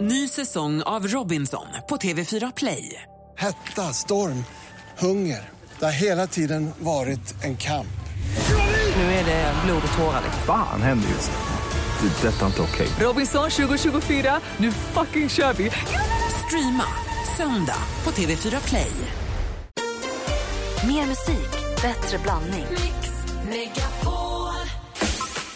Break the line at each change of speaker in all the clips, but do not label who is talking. Ny säsong av Robinson på TV4 Play.
Hetta, storm, hunger. Det har hela tiden varit en kamp.
Nu är det blod och tårar.
Fan händer just nu. Det. är Detta är inte okej.
Robinson 2024, nu fucking kör vi! Streama söndag på TV4 Play.
Mer musik, bättre blandning.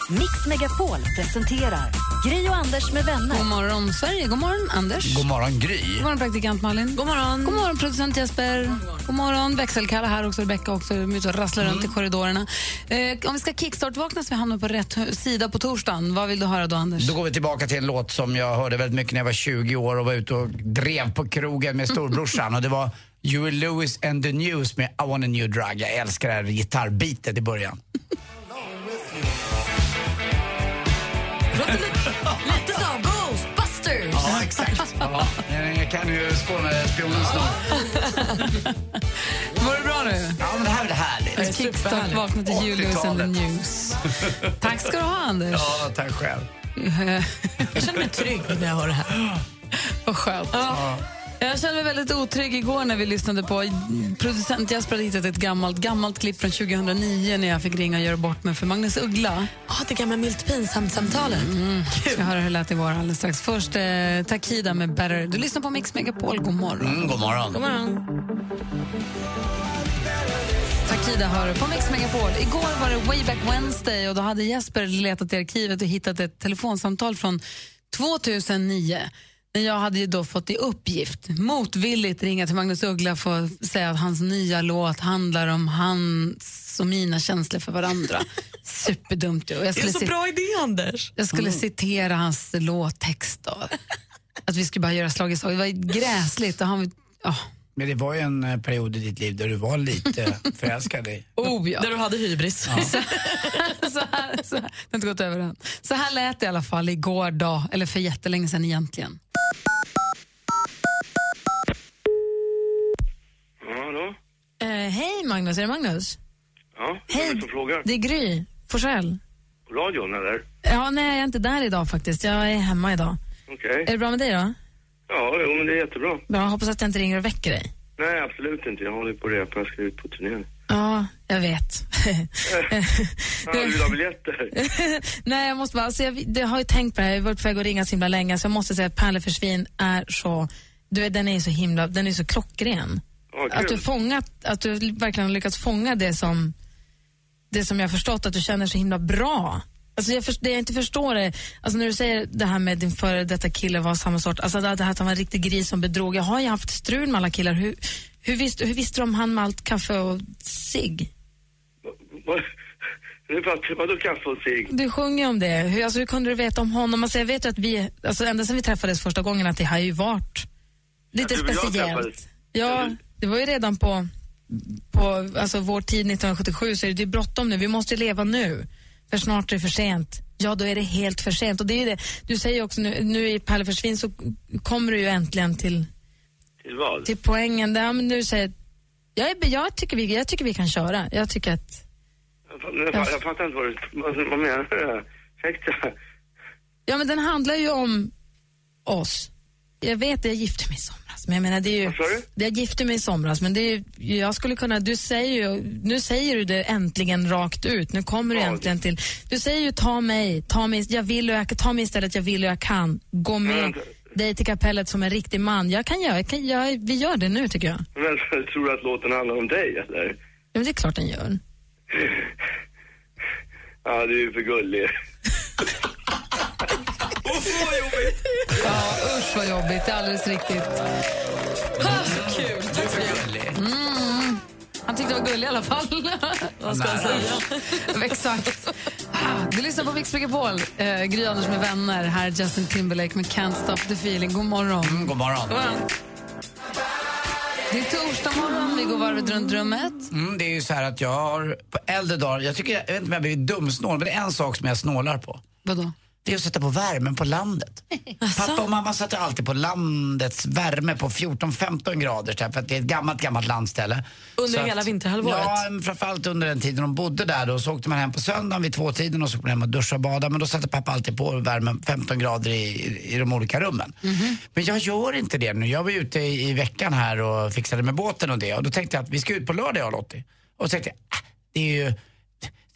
Mix Megapol presenterar Gri och Anders med vänner.
God morgon, Sverige. God morgon, Anders.
God morgon, Gry.
God morgon, praktikant Malin. God morgon. God morgon, producent Jesper. God morgon, Mm. växelkalla här också. Rebecka också. De är ute och rasslar runt i korridorerna. Eh, om vi ska kickstart-vakna så vi hamnar på rätt hö- sida på torsdagen, vad vill du höra då, Anders?
Då går vi tillbaka till en låt som jag hörde väldigt mycket när jag var 20 år och var ute och drev på krogen med storbrorsan. Och det var Huey Lewis and the News med I want a new drug. Jag älskar det här gitarrbitet i början.
Lite så, Ghostbusters!
Ja, exakt. Ja, men jag kan ju Skånespionen snart.
Var det bra nu?
Ja, men det här är väl härligt?
Kickstart-vakna till jul och sen the
80-talet.
news. Tack ska du ha, Anders.
Ja, tack själv.
Jag känner mig trygg när jag hör det här. Vad skönt. Jag kände mig väldigt otrygg igår när vi lyssnade på producent Jesper hade hittat ett gammalt, gammalt klipp från 2009 när jag fick ringa och göra bort mig för Magnus Uggla. Mm,
Ja, det gamla milt pinsamt-samtalet.
Vi ska höra hur det lät igår alldeles strax. Först eh, Takida med Better. Du lyssnar på Mix Megapol. God morgon.
Mm, god morgon.
Takida hör du på Mix Megapol. Igår var det Wayback Wednesday och då hade Jesper letat i arkivet och hittat ett telefonsamtal från 2009 när jag hade ju då fått i uppgift, motvilligt ringa till Magnus Uggla för att säga att hans nya låt handlar om hans och mina känslor för varandra. Superdumt ju. Och jag skulle sit-
idé, Anders.
jag skulle
Mm.
citera hans låttext då. Att vi skulle bara göra slag i slag. Det var gräsligt. Och han, oh,
Men det var ju en eh, period i ditt liv där du var lite förälskad i.
oh ja.
Där du hade hybris.
Så här, så här, så här, det har inte gått över än. Så här lät det i alla fall igår dag, eller för jättelänge sedan egentligen.
Ja, hallå?
Eh, Hej, Magnus. Är det Magnus?
Ja,
Hej.
vem är det som frågar?
Det är Gry Forssell.
På Radion eller?
Ja, nej, jag är inte där idag faktiskt. Jag är hemma idag.
Okej.
Är det bra med dig då?
Ja, jo, men det är jättebra.
Bra, hoppas att jag inte ringer och väcker dig.
Nej, absolut inte. Jag håller på att repa. Jag ska ut på turnén.
Ja, jag vet.
Ja, du vill ha biljetter?
nej, jag måste bara, alltså, jag, det har ju tänkt på det här. Jag har varit på väg att ringa så himla länge, så jag måste säga att Pärle för svin är så... Du vet, den är ju så himla, den är så klockren.
Ja,
att du
kul.
fångat, att du verkligen har lyckats fånga det som, det som jag har förstått att du känner så himla bra. Alltså jag för, det jag inte förstår är, alltså när du säger det här med din före detta kille var samma sort, alltså det det här att han var en riktig gris som bedrog. Jag har ju haft strul med alla killar. Hur, hur, visste, hur visste du om han med allt kaffe och cigg?
Vad- Nu pratar vi vadå kaffe och cigg?
Du sjunger ju om det. Hur, alltså hur kunde du veta om honom? Alltså jag vet ju att vi, alltså ända sedan vi träffades första gången att det har ju varit lite
Ja, du och jag
speciellt.
träffades.
Ja, det var ju redan på, på alltså vår tid 1977 så är det, det är bråttom nu. Vi måste leva nu. För snart är det för sent. Ja, då är det helt för sent. Och det är ju det. Du säger ju också nu, nu i Pärle försvinn så kommer du ju äntligen till,
Till vad?
till poängen. Där, men du säger, jag, är, jag, tycker vi, jag tycker vi kan köra. Jag tycker att
Jag, fa- jag, fa- jag fattar inte vad du... Vad, vad menar du? Ursäkta.
Ja, men den handlar ju om oss. Jag vet, jag gifte mig i somras, men jag menar det är ju...
Vad sa du?
Jag gifte mig i somras, men det är ju, jag skulle kunna... Du säger ju, nu säger du det äntligen rakt ut. Nu kommer du
Ja,
äntligen till... Du säger ju ta mig, ta mig, jag vill och jag, ta mig istället, jag vill och jag kan. Gå med
Men-
dig till kapellet som en riktig man. Jag kan göra, jag kan, jag, vi gör det nu tycker jag.
Men, tror du att låten handlar om dig eller?
Ja, men det är klart den gör.
Ja, du är ju för gullig.
Ja, usch vad jobbigt. Det är alldeles riktigt. Mm. Han tyckte det var gullig i alla fall. Vad ska han säga? Exakt. Ah, Du lyssnar på Mix Megapol. Eh, Gry Anders med vänner. Här är Justin Timberlake med Can't Stop The Feeling. God morgon.
Mm, god morgon.
Det är torsdag morgon. Vi går varvet runt rummet.
Mm, det är ju så här att jag har på äldre dagar, jag tycker, jag vet inte om jag har blivit dumsnål, men det är en sak som jag snålar på.
Vadå?
Det är att sätta på värmen på landet. Pappa och mamma satte alltid på landets värme på 14-15 grader så här, för att det är ett gammalt, gammalt landställe.
Under
Så
hela vinterhalvåret?
Ja, men framförallt under den tiden de bodde där då. Så åkte man hem på söndagen vid tvåtiden och så åkte man hem och duscha och bada. Men då satte pappa alltid på värmen 15 grader i, i de olika rummen.
Mm-hmm.
Men jag gör inte det nu. Jag var ute i, i veckan här och fixade med båten och det. Och då tänkte jag att vi ska ut på lördag jag och Lottie. Och så tänkte jag, ah, det är ju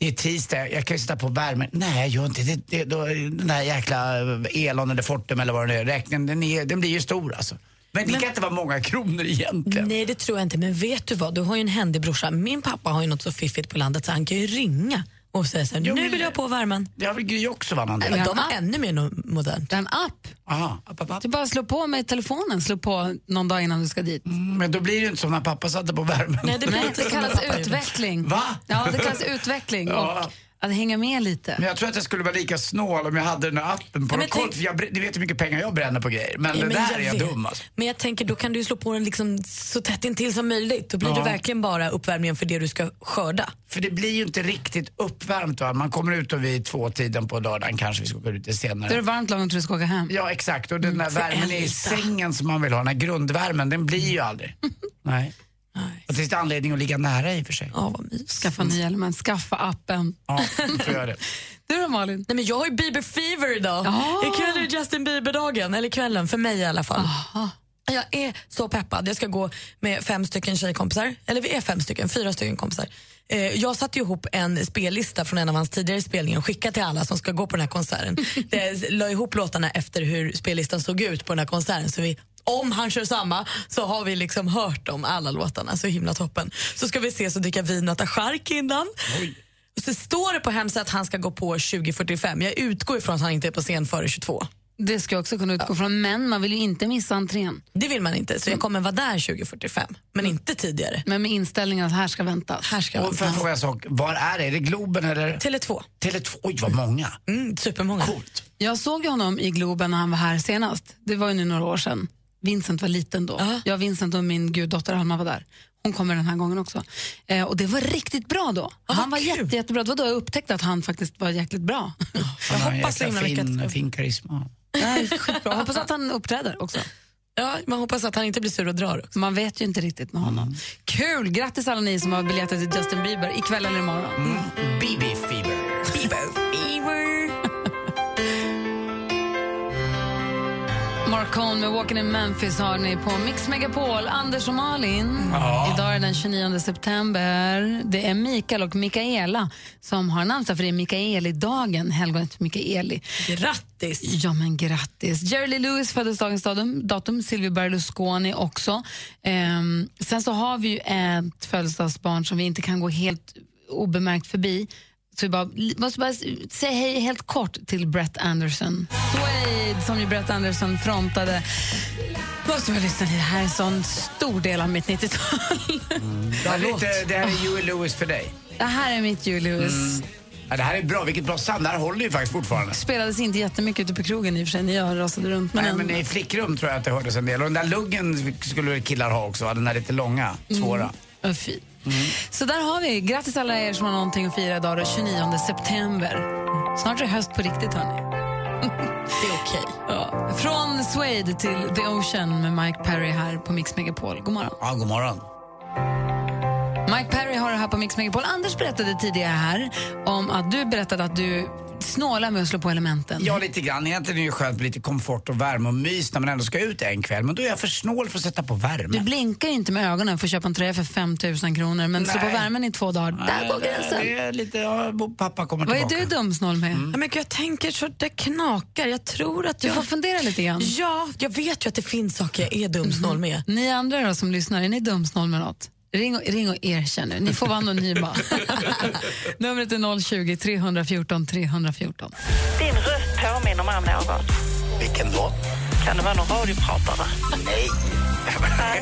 det är tisdag, jag kan ju sätta på värmen. Nej, jag gör inte det. det då, den där jäkla Elon eller Fortum eller vad det nu är, räkningen, den, är, den blir ju stor alltså. Men det kan inte vara många kronor egentligen.
Nej, det tror jag inte. Men vet du vad? Du har ju en händig brorsa. Min pappa har ju något så fiffigt på landet så han kan ju ringa och säga så här,
Jo,
nu
men-
vill jag på värmen.
Det har väl Gry också va? Amanda?
Men de har ännu mer no- modernt.
Det är en app.
Aha. app, app, app.
Du bara slår på med telefonen, slår på någon dag innan du ska dit.
Men då blir det ju inte som när pappa satte på värmen.
Nej, det blir
Nej,
inte
det
som när
kallas
pappa gjorde.
utveckling.
Va?
Ja, det kallas utveckling
Ja.
och att hänga med lite.
Men jag tror att jag skulle vara lika snål om jag hade den här appen på
men
något konto.
tänk-
för jag br- Du vet hur mycket pengar jag bränner på grejer. Men
Ja,
det
men
där är jag
vet.
dum alltså.
Men jag tänker, då kan du ju slå på den liksom så tätt intill som möjligt. Då blir det verkligen bara uppvärmningen för det du ska skörda.
För det blir ju inte riktigt uppvärmt va. Man kommer ut och vid två tiden på lördagen kanske, vi ska gå ut lite senare.
Då är det varmt lagom till du ska åka hem. Mm,
Ja exakt, och den där värmen i
elda.
sängen som man vill ha, den här grundvärmen, den blir ju aldrig. Nej.
Nej.
Och det finns det anledning att ligga nära i och för sig.
Ja, vad mys.
Skaffa en ny element, skaffa appen.
Ja, då får jag det.
Du då Malin?
Nej, men jag har ju Bieber fever idag.
Ja.
Ikväll är det Justin Bieber-dagen, eller kvällen för mig i alla fall. Jag är så peppad. Jag ska gå med fem stycken tjejkompisar, eller vi är fem stycken, fyra stycken kompisar. Eh, jag satte ju ihop en spellista från en av hans tidigare spelningar och skickade till alla som ska gå på den här konserten. Det Eh, la ihop låtarna efter hur spellistan såg ut på den här konserten. Så vi, om han kör samma så har vi liksom hört om alla låtarna. Så himla toppen. Så ska vi se så dricka vin och äta chark innan. Och så står det på hemsidan att han ska gå på 20.45. Jag utgår ifrån att han inte är på scen före 22.
Det ska jag också kunna utgå från, men man vill ju inte missa entrén.
Det vill man inte, så jag kommer vara där 20.45. Men inte tidigare.
Men med inställningen att här ska väntas.
Här ska
Och för
jag
att fråga en sak, var är det? Är det Globen eller?
Tele2.
Tele2? Oj, vad många.
Mm, supermånga.
Coolt.
Jag såg ju honom i Globen när han var här senast. Det var ju nu några år sedan. Vincent var liten då.
Ja.
Jag, Vincent och min guddotter Alma var där. Hon kommer den här gången också. Eh, och det var riktigt bra då. han var
kul.
jätte, jättebra. Det var då jag upptäckte att han faktiskt var jäkligt bra.
Jag
hoppas så himla mycket att-
fin, fin karisma.
Jag hoppas att han uppträder också.
Ja, man hoppas att han inte blir sur och drar också. Mm.
Man vet ju inte riktigt med honom. Kul! Grattis alla ni som har biljetter till Justin Bieber ikväll eller imorgon.
Mm.
Mm.
BB Fever.
Mark Cohn med Walking in Memphis har ni på Mix Megapol. Anders och Malin, idag är det den 29 september. Det är Mikael och Mikaela som har namnsdag för det är Mikaeli-dagen, helgonet Mikaeli.
Grattis!
Ja, men grattis. Jerry Lee Lewis föddes dagens datum, datum Silvio Berlusconi också. Ehm, sen så har vi ju ett födelsedagsbarn som vi inte kan gå helt obemärkt förbi. Så vi bara, li- måste bara s- säga hej helt kort till Brett Anderson. Suede, som ju Brett Anderson frontade. Måste bara lyssna till det här, är en sån stor del av mitt 90-tal.
Det här, är lite, det här är Huey Lewis för dig.
Det här är mitt Jerry Lewis.
Mm. Ja, det här är bra, vilket bra sound. Det här håller ju faktiskt fortfarande.
Spelades inte jättemycket ute på krogen i och för sig när jag rasade runt. Men
Nej,
ändå.
men I flickrum tror jag att det hördes en del. Och den där luggen skulle killar ha också, va? den där lite långa,
Mm.
svåra.
Vad fint. Så där har vi. Grattis alla er som har någonting att fira idag, den 29 september. Snart är det höst på riktigt, hörni.
Det är okej.
Ja. Från Suede till The Ocean med Mike Perry här på Mix Megapol. God morgon.
Ja, god morgon.
Mike Perry har det här på Mix Megapol. Anders berättade tidigare här om att du berättade att du snålar med att slå på elementen.
Ja, lite grann. Egentligen är det ju skönt med lite komfort och värme och mys när man ändå ska ut en kväll. Men då är jag för snål för att sätta på
Du
värmen.
blinkar ju inte med ögonen för att köpa en tröja för 5 000 kronor men slå på
Nej.
värmen i två dagar, där går
Det
gränsen.
är lite, ja, pappa kommer
Vad är
tillbaka. Mm.
du dumsnål med?
Ja, men jag tänker så det knakar. Jag tror att
Du
jag...
får fundera lite grann. Mhm.
Ja, jag vet ju att det finns saker jag är dumsnål med.
Ni andra då som lyssnar, är ni dumsnål med något? Ring och, ring och erkänn nu. Ni får vara anonyma. Numret är 020 314 314.
Din röst påminner mig om någon.
Vilken då?
Kan det vara någon radiopratare?
Nej.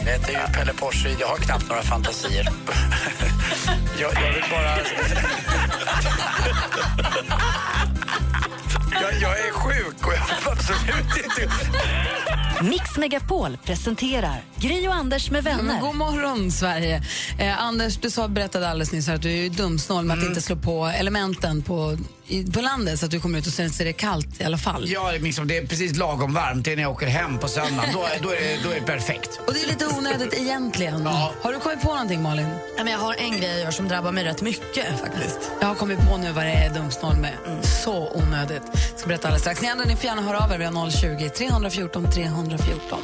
Det heter ju Pelle Porsche. Jag har knappt några fantasier. Jag, jag vill bara... Jag, jag är sjuk och jag vill absolut inte...
Mix Megapol presenterar Gri och Anders med
Ja, men
vänner.
god morgon, Sverige. Eh, Anders, du sa, berättade alldeles nyss här att du är ju dumsnål med att inte slå på elementen på, i, på landet så att du kommer ut och sen så är det kallt i alla fall.
Ja, liksom, det är precis lagom varmt. Det är när jag åker hem på söndag. Då, då, är, det- då är det perfekt.
Och det är lite onödigt egentligen. Har du kommit på någonting, Malin?
Ja, men jag har en grej jag gör som drabbar mig rätt mycket faktiskt. Mm.
Jag har kommit på nu vad det är dumsnål med. Så onödigt. Jag ska berätta alldeles strax. Ni andra ni får gärna höra av er. Vi har 020 314 314.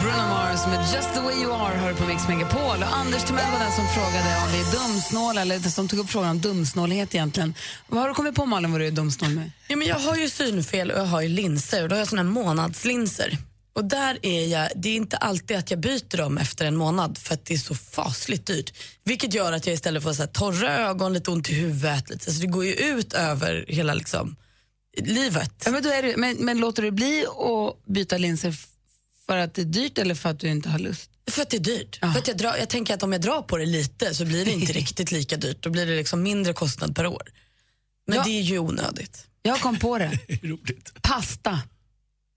Bruno Mars med Just the way you are hör på Mix Megapol. Och Anders Timell var den som frågade om vi är dumsnåla eller som tog upp frågan om dumsnålhet egentligen. Vad har du kommit på Malin vad du är dumsnål med?
Ja, men jag har ju synfel och jag har ju linser. Och då har jag såna här månadslinser. Och där är jag, det är inte alltid att jag byter dem efter en månad för att det är så fasligt dyrt. Vilket gör att jag istället får så här torra ögon, lite ont i huvudet. Lite. Så det går ju ut över hela liksom, livet.
Ja, men, då är det, men, men låter du bli att byta linser f- för att det är dyrt eller för att du inte har lust?
För att det är dyrt. För att jag, drar, jag tänker att om jag drar på det lite så blir det inte riktigt lika dyrt. Då blir det liksom mindre kostnad per år. Men
Ja.
det är ju onödigt.
Jag kom på det. Pasta.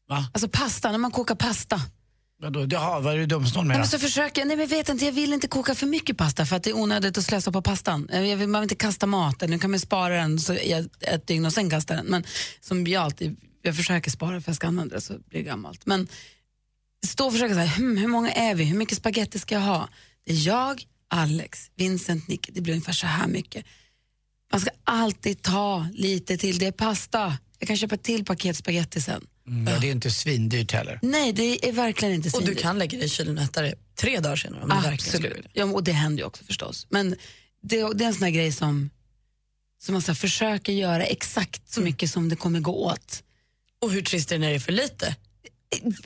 Va?
Alltså pasta, när man kokar pasta.
Vadå? Jaha, vad är du dumsnål med
Nej,
då?
men så försöker jag, nej men vet inte, jag vill inte koka för mycket pasta för att det är onödigt att slösa på pastan. Eh, Jag vill, man vill inte kasta maten, nu kan man spara den så i ett- ett dygn och sen kasta den. Men som jag alltid, jag försöker spara för att jag ska använda det så blir det gammalt. Men stå och försöka säga, hmm, hur många är vi, hur mycket spaghetti ska jag ha? Det är jag, Alex, Vincent, Nick, det blir ungefär så här mycket. Man ska alltid ta lite till, det är pasta. Jag kan köpa ett till paket spaghetti sen.
Mm, ja, det är inte svindyrt heller.
Nej, det är verkligen inte
Och du
svindyrt.
kan lägga dig i kylen och äta det tre dagar senare om du verkligen skulle
Absolut.
vilja.
Ja, och det händer ju också förstås. Men det, det är en sån här grej som, som man så här försöker göra exakt
Mm.
så mycket som det kommer gå åt.
Och hur trist är det när det är för lite?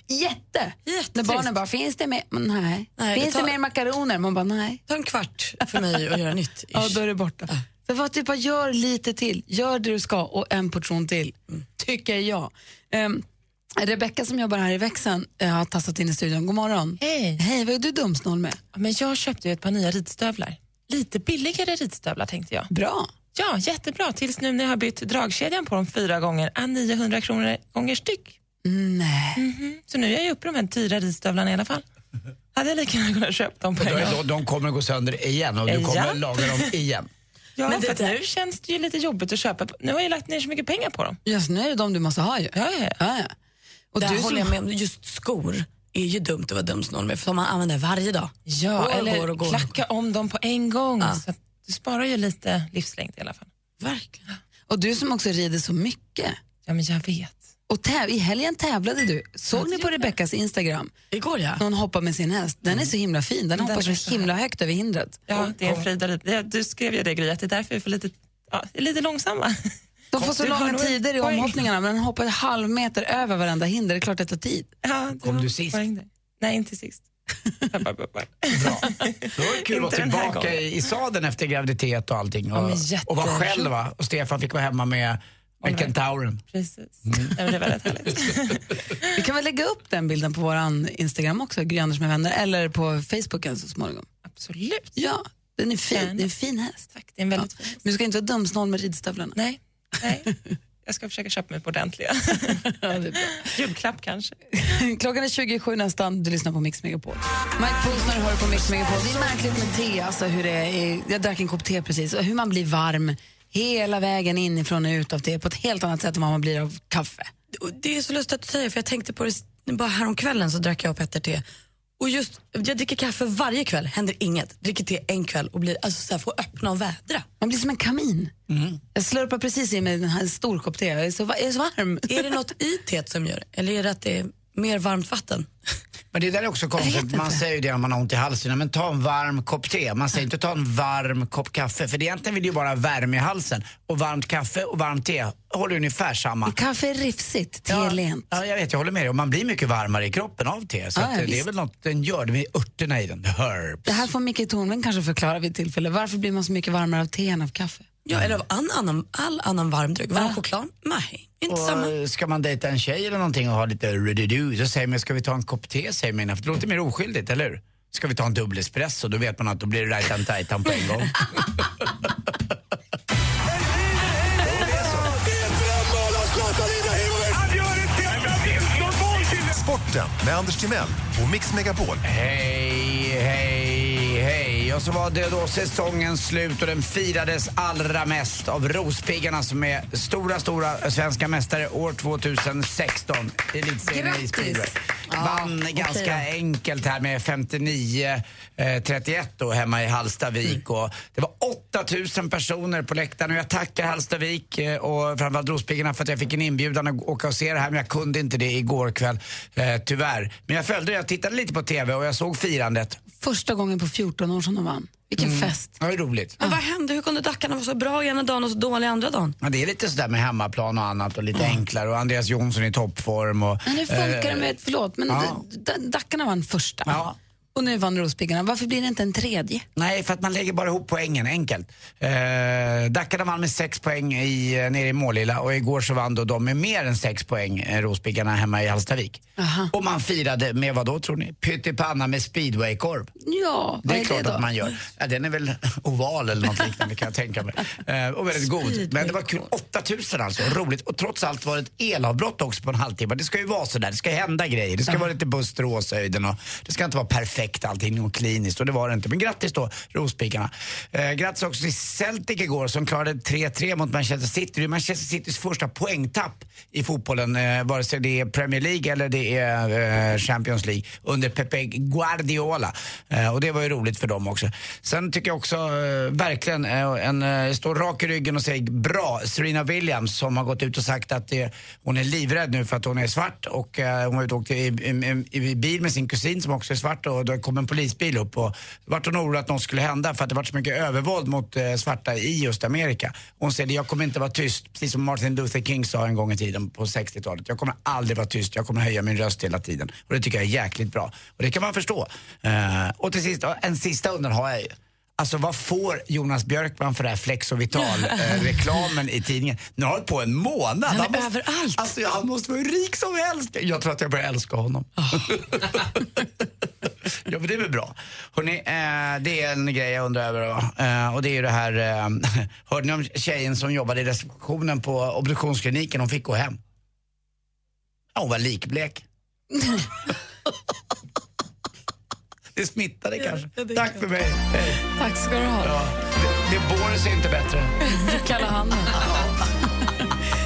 Jätte!
Jättetrist.
När barnen bara, finns det mer? Men Nej.
Nej,
finns
det tar-
det mer makaroner? Man bara, nej.
Ta en kvart för mig att göra nytt.
Ja, då är
ish.
det borta. Så vad, typ, bara gör lite till. Gör det du ska och en portion till, tycker jag. Um, Rebecka som jobbar här i växeln eh, har tassat in i studion. God morgon.
Hej.
Hej, vad är du dumsnål med?
Men jag köpte ju ett par nya ridstövlar. Lite billigare ridstövlar tänkte jag.
Bra.
Ja, jättebra. Tills nu när jag har bytt dragkedjan på dem fyra gånger, är 900 kronor gånger styck.
Nej.
Mhm. Så nu är jag ju uppe i de här dyra ridstövlarna i alla fall. Hade jag lika gärna kunnat köpa dem på en
De,
gång.
de, de kommer gå sönder igen och du
Ja.
kommer laga dem igen.
Ja,
Men det
för att nu känns det ju lite jobbigt att köpa. Nu har jag ju lagt ner så mycket pengar på dem.
Just nu är det de du måste ha ju.
Ja, ja, ja.
Ja, ja. Och
Där
du som
håller jag med om. Just skor är ju dumt att vara dumsnål med för de man använder varje dag.
ja
Går och
eller
går och går.
klacka om dem på en gång. Så att du sparar ju lite livslängd i alla fall.
Verkligen.
Och du som också rider så mycket.
Ja, men jag vet.
Och täv- I helgen tävlade du. Såg ni på Rebeckas Instagram?
Igår ja.
När hon hoppar med sin häst. Den är så himla fin. Den hoppar
är
så
så
himla högt över hindret.
Ja, det är en fröjd. att rida. Ja, Du skrev ju det, Gry, att det är därför vi får lite, ja, lite långsamma.
De får så
Du har
långa
nog
tider i
poäng.
omhoppningarna men den hoppar en halv meter över varenda hinder. Det är klart det tar tid.
Ja, det
Kom
var
du sist?
poäng där. Nej, inte sist. Tappar, tappar.
Bra. Då var det kul att vara
Inte den här
tillbaka
gången.
i, i sadeln efter graviditet och allting. Och,
men
och vara
jätteroligt.
själv va? Och Stefan fick vara hemma med, med kentauren.
Precis. Nej, men Det var rätt härligt.
Vi kan väl lägga upp den bilden på vår Instagram också, Gry Anders med vänner, eller på Facebooken så småningom.
Absolut.
Ja, den är fin.
Gärna.
Det är en fin häst.
Tack, det är en
Ja.
väldigt fin.
Men du ska inte vara dumsnål med ridstövlarna.
Nej, nej. Jag ska försöka köpa mig på ordentliga. Julklapp kanske.
Klockan är 27 nästan, du lyssnar på Mix Megapol. Mike Posner hör på Mix Megapol. Det är märkligt med te, alltså hur det är. Jag drack en kopp te precis, och hur man blir varm hela vägen inifrån och ut av te på ett helt annat sätt än vad man blir av kaffe.
Och Det är så lustigt att du säger för jag tänkte på det bara häromkvällen så drack jag och Petter te. Och just, jag dricker kaffe varje kväll, händer inget. Dricker te en kväll och blir, alltså så här, får öppna och vädra.
Man blir som en kamin.
Mm.
Jag slurpar precis i mig en här stor kopp te, jag är så, va- jag är så varm.
Är det något i teet som gör det? Eller är det att det är mer varmt vatten?
Men det där är också
Jag
konstigt.
vet
Man
inte.
säger ju det om man har ont i halsen. Ja, Men ta en varm kopp te. Man säger inte ta en varm kopp kaffe. För det egentligen vill ju bara ha värme i halsen. Och varmt kaffe och varmt te håller ungefär samma.
Kaffe är rifsigt, te
Ja,
är lent.
ja, jag vet, jag håller med dig. Och man blir mycket varmare i kroppen av te. Så
Ja,
att,
ja,
eh, det är
visst.
väl något den gör. Det är örterna i den. The herbs.
Det här får Micke Tornving kanske förklara vid tillfälle. Varför blir man så mycket varmare av te än av kaffe?
Ja, eller av all annan, all annan varm dryck. Varm choklad? Nej, inte samma.
Och eh, ska man dejta en tjej eller någonting och ha lite rudidu så säger man ska vi ta en kopp te säger man för det låter mer oskyldigt, eller hur? Ska vi ta en dubbel espresso då vet man att då blir det rajtan tajtan på en gång.
Han gör inte ett av
Sporten med Anders Timell och Mix Megapol.
Hej, hej, hej. Och så var det då säsongens slut och den firades allra mest av Rospiggarna som är stora, stora svenska mästare år 2016. Elitserien i
Grattis.
speedway.
Ja,
Vann
okej
ganska
då.
enkelt här med 59-31 då hemma i Hallstavik.
Mm.
Och det var 8000 personer på läktaren och jag tackar Hallstavik eh, och framförallt Rospiggarna för att jag fick en inbjudan att åka och se det här men jag kunde inte det igår kväll eh, tyvärr. Men jag följde det, jag tittade lite på TV och jag såg firandet.
Första gången på 14 år som de vann. Vilken
Mm.
fest.
Det var ju roligt.
Men vad hände? Hur kunde Dackarna vara så bra ena dagen och så dåliga andra dagen?
Ja, det är lite sådär med hemmaplan och annat och lite enklare och Andreas Jonsson i toppform. Och,
Men hur funkar
eh,
det med, förlåt, men
ja.
d- d- Dackarna vann första.
Ja.
Och nu vann Rospiggarna. Varför blir det inte en tredje?
Nej, för att man lägger bara ihop poängen, enkelt. Eh, Dackarna vann med sex poäng i, eh, nere i Målilla och igår så vann då de med mer än sex poäng, eh, Rospiggarna, hemma i Hallstavik. Och man firade med vad då tror ni? Pyttipanna med speedwaykorv.
Ja,
Det
vad
är,
är
klart
det då?
att man gör. Ja, den är väl oval eller något liknande kan jag tänka mig. Eh, och väldigt god. Men det var kul. 8000 alltså, roligt. Och trots allt var det ett elavbrott också på en halvtimme. Det ska ju vara sådär, det ska hända grejer. Det ska vara lite Buster och Åshöjden och det ska inte vara perfekt allting och kliniskt och det var det inte. Men grattis då, Rospiggarna. Eh, grattis också till Celtic igår som klarade 3-3 mot Manchester City. Det är Manchester Citys första poängtapp i fotbollen, eh, vare sig det är Premier League eller det är eh, Champions League, under Pepe Guardiola. Eh, och det var ju roligt för dem också. Sen tycker jag också eh, verkligen, eh, en, eh, står rak i ryggen och säger bra, Serena Williams som har gått ut och sagt att eh, hon är livrädd nu för att hon är svart och eh, hon var ute och åkte i, i, i, i bil med sin kusin som också är svart och då kom en polisbil upp och då vart hon orolig att något skulle hända för att det vart så mycket övervåld mot eh, svarta i just Amerika. Hon säger jag kommer inte vara tyst, precis som Martin Luther King sa en gång i tiden på 60-talet. Jag kommer aldrig vara tyst, jag kommer höja min röst hela tiden. Och det tycker jag är jäkligt bra. Och det kan man förstå. Eh, och till sist, en sista undran har jag ju. Alltså vad får Jonas Björkman för det här Flex och eh, Vital-reklamen i tidningen? Nu har han hållit på en månad. Han, måste, överallt. Alltså, han måste vara hur rik som helst. Jag tror att jag börjar älska honom.
Ah.
Ja, men det är väl bra. Hörrni, eh, det är en grej jag undrar över. va? Eh, och det är ju det här, eh, hörde ni om tjejen som jobbade i receptionen på obduktionskliniken? Hon fick gå hem. Ja, hon var likblek. Det smittade kanske. Tack för mig. Hej.
Tack ska du ha.
Ja, det, det Boris är inte bättre.
Kalla handen.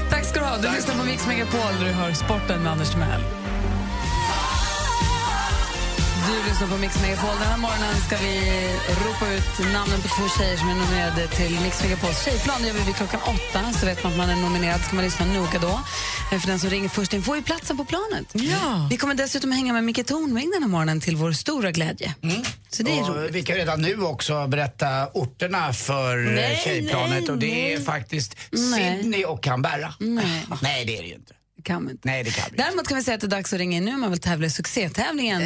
Tack ska du ha. Du lyssnar på Mix Megapol där du hör sporten med Anders Timell. Du lyssnar på Mix Megapol. Den här morgonen ska vi ropa ut namnen på två tjejer som är nominerade till Mix Megapols tjejplan. Det gör vi vid klockan åtta, så vet man att man är nominerad. ska man lyssna noga då. Eh, För den som ringer först in får ju platsen på planet. Ja. Vi kommer dessutom hänga med Micke Tornving den här morgonen till vår stora glädje. Så det är roligt.
och vi kan redan nu också berätta orterna för eh,
Nej,
tjejplanet
nej,
och det är
nej.
faktiskt
Nej.
Sydney och Canberra.
Nej.
nej, det är det ju inte.
Kan vi inte.
Nej, det kan vi
Däremot kan vi säga att det är dags att ringa in nu om man vill tävla i succétävlingen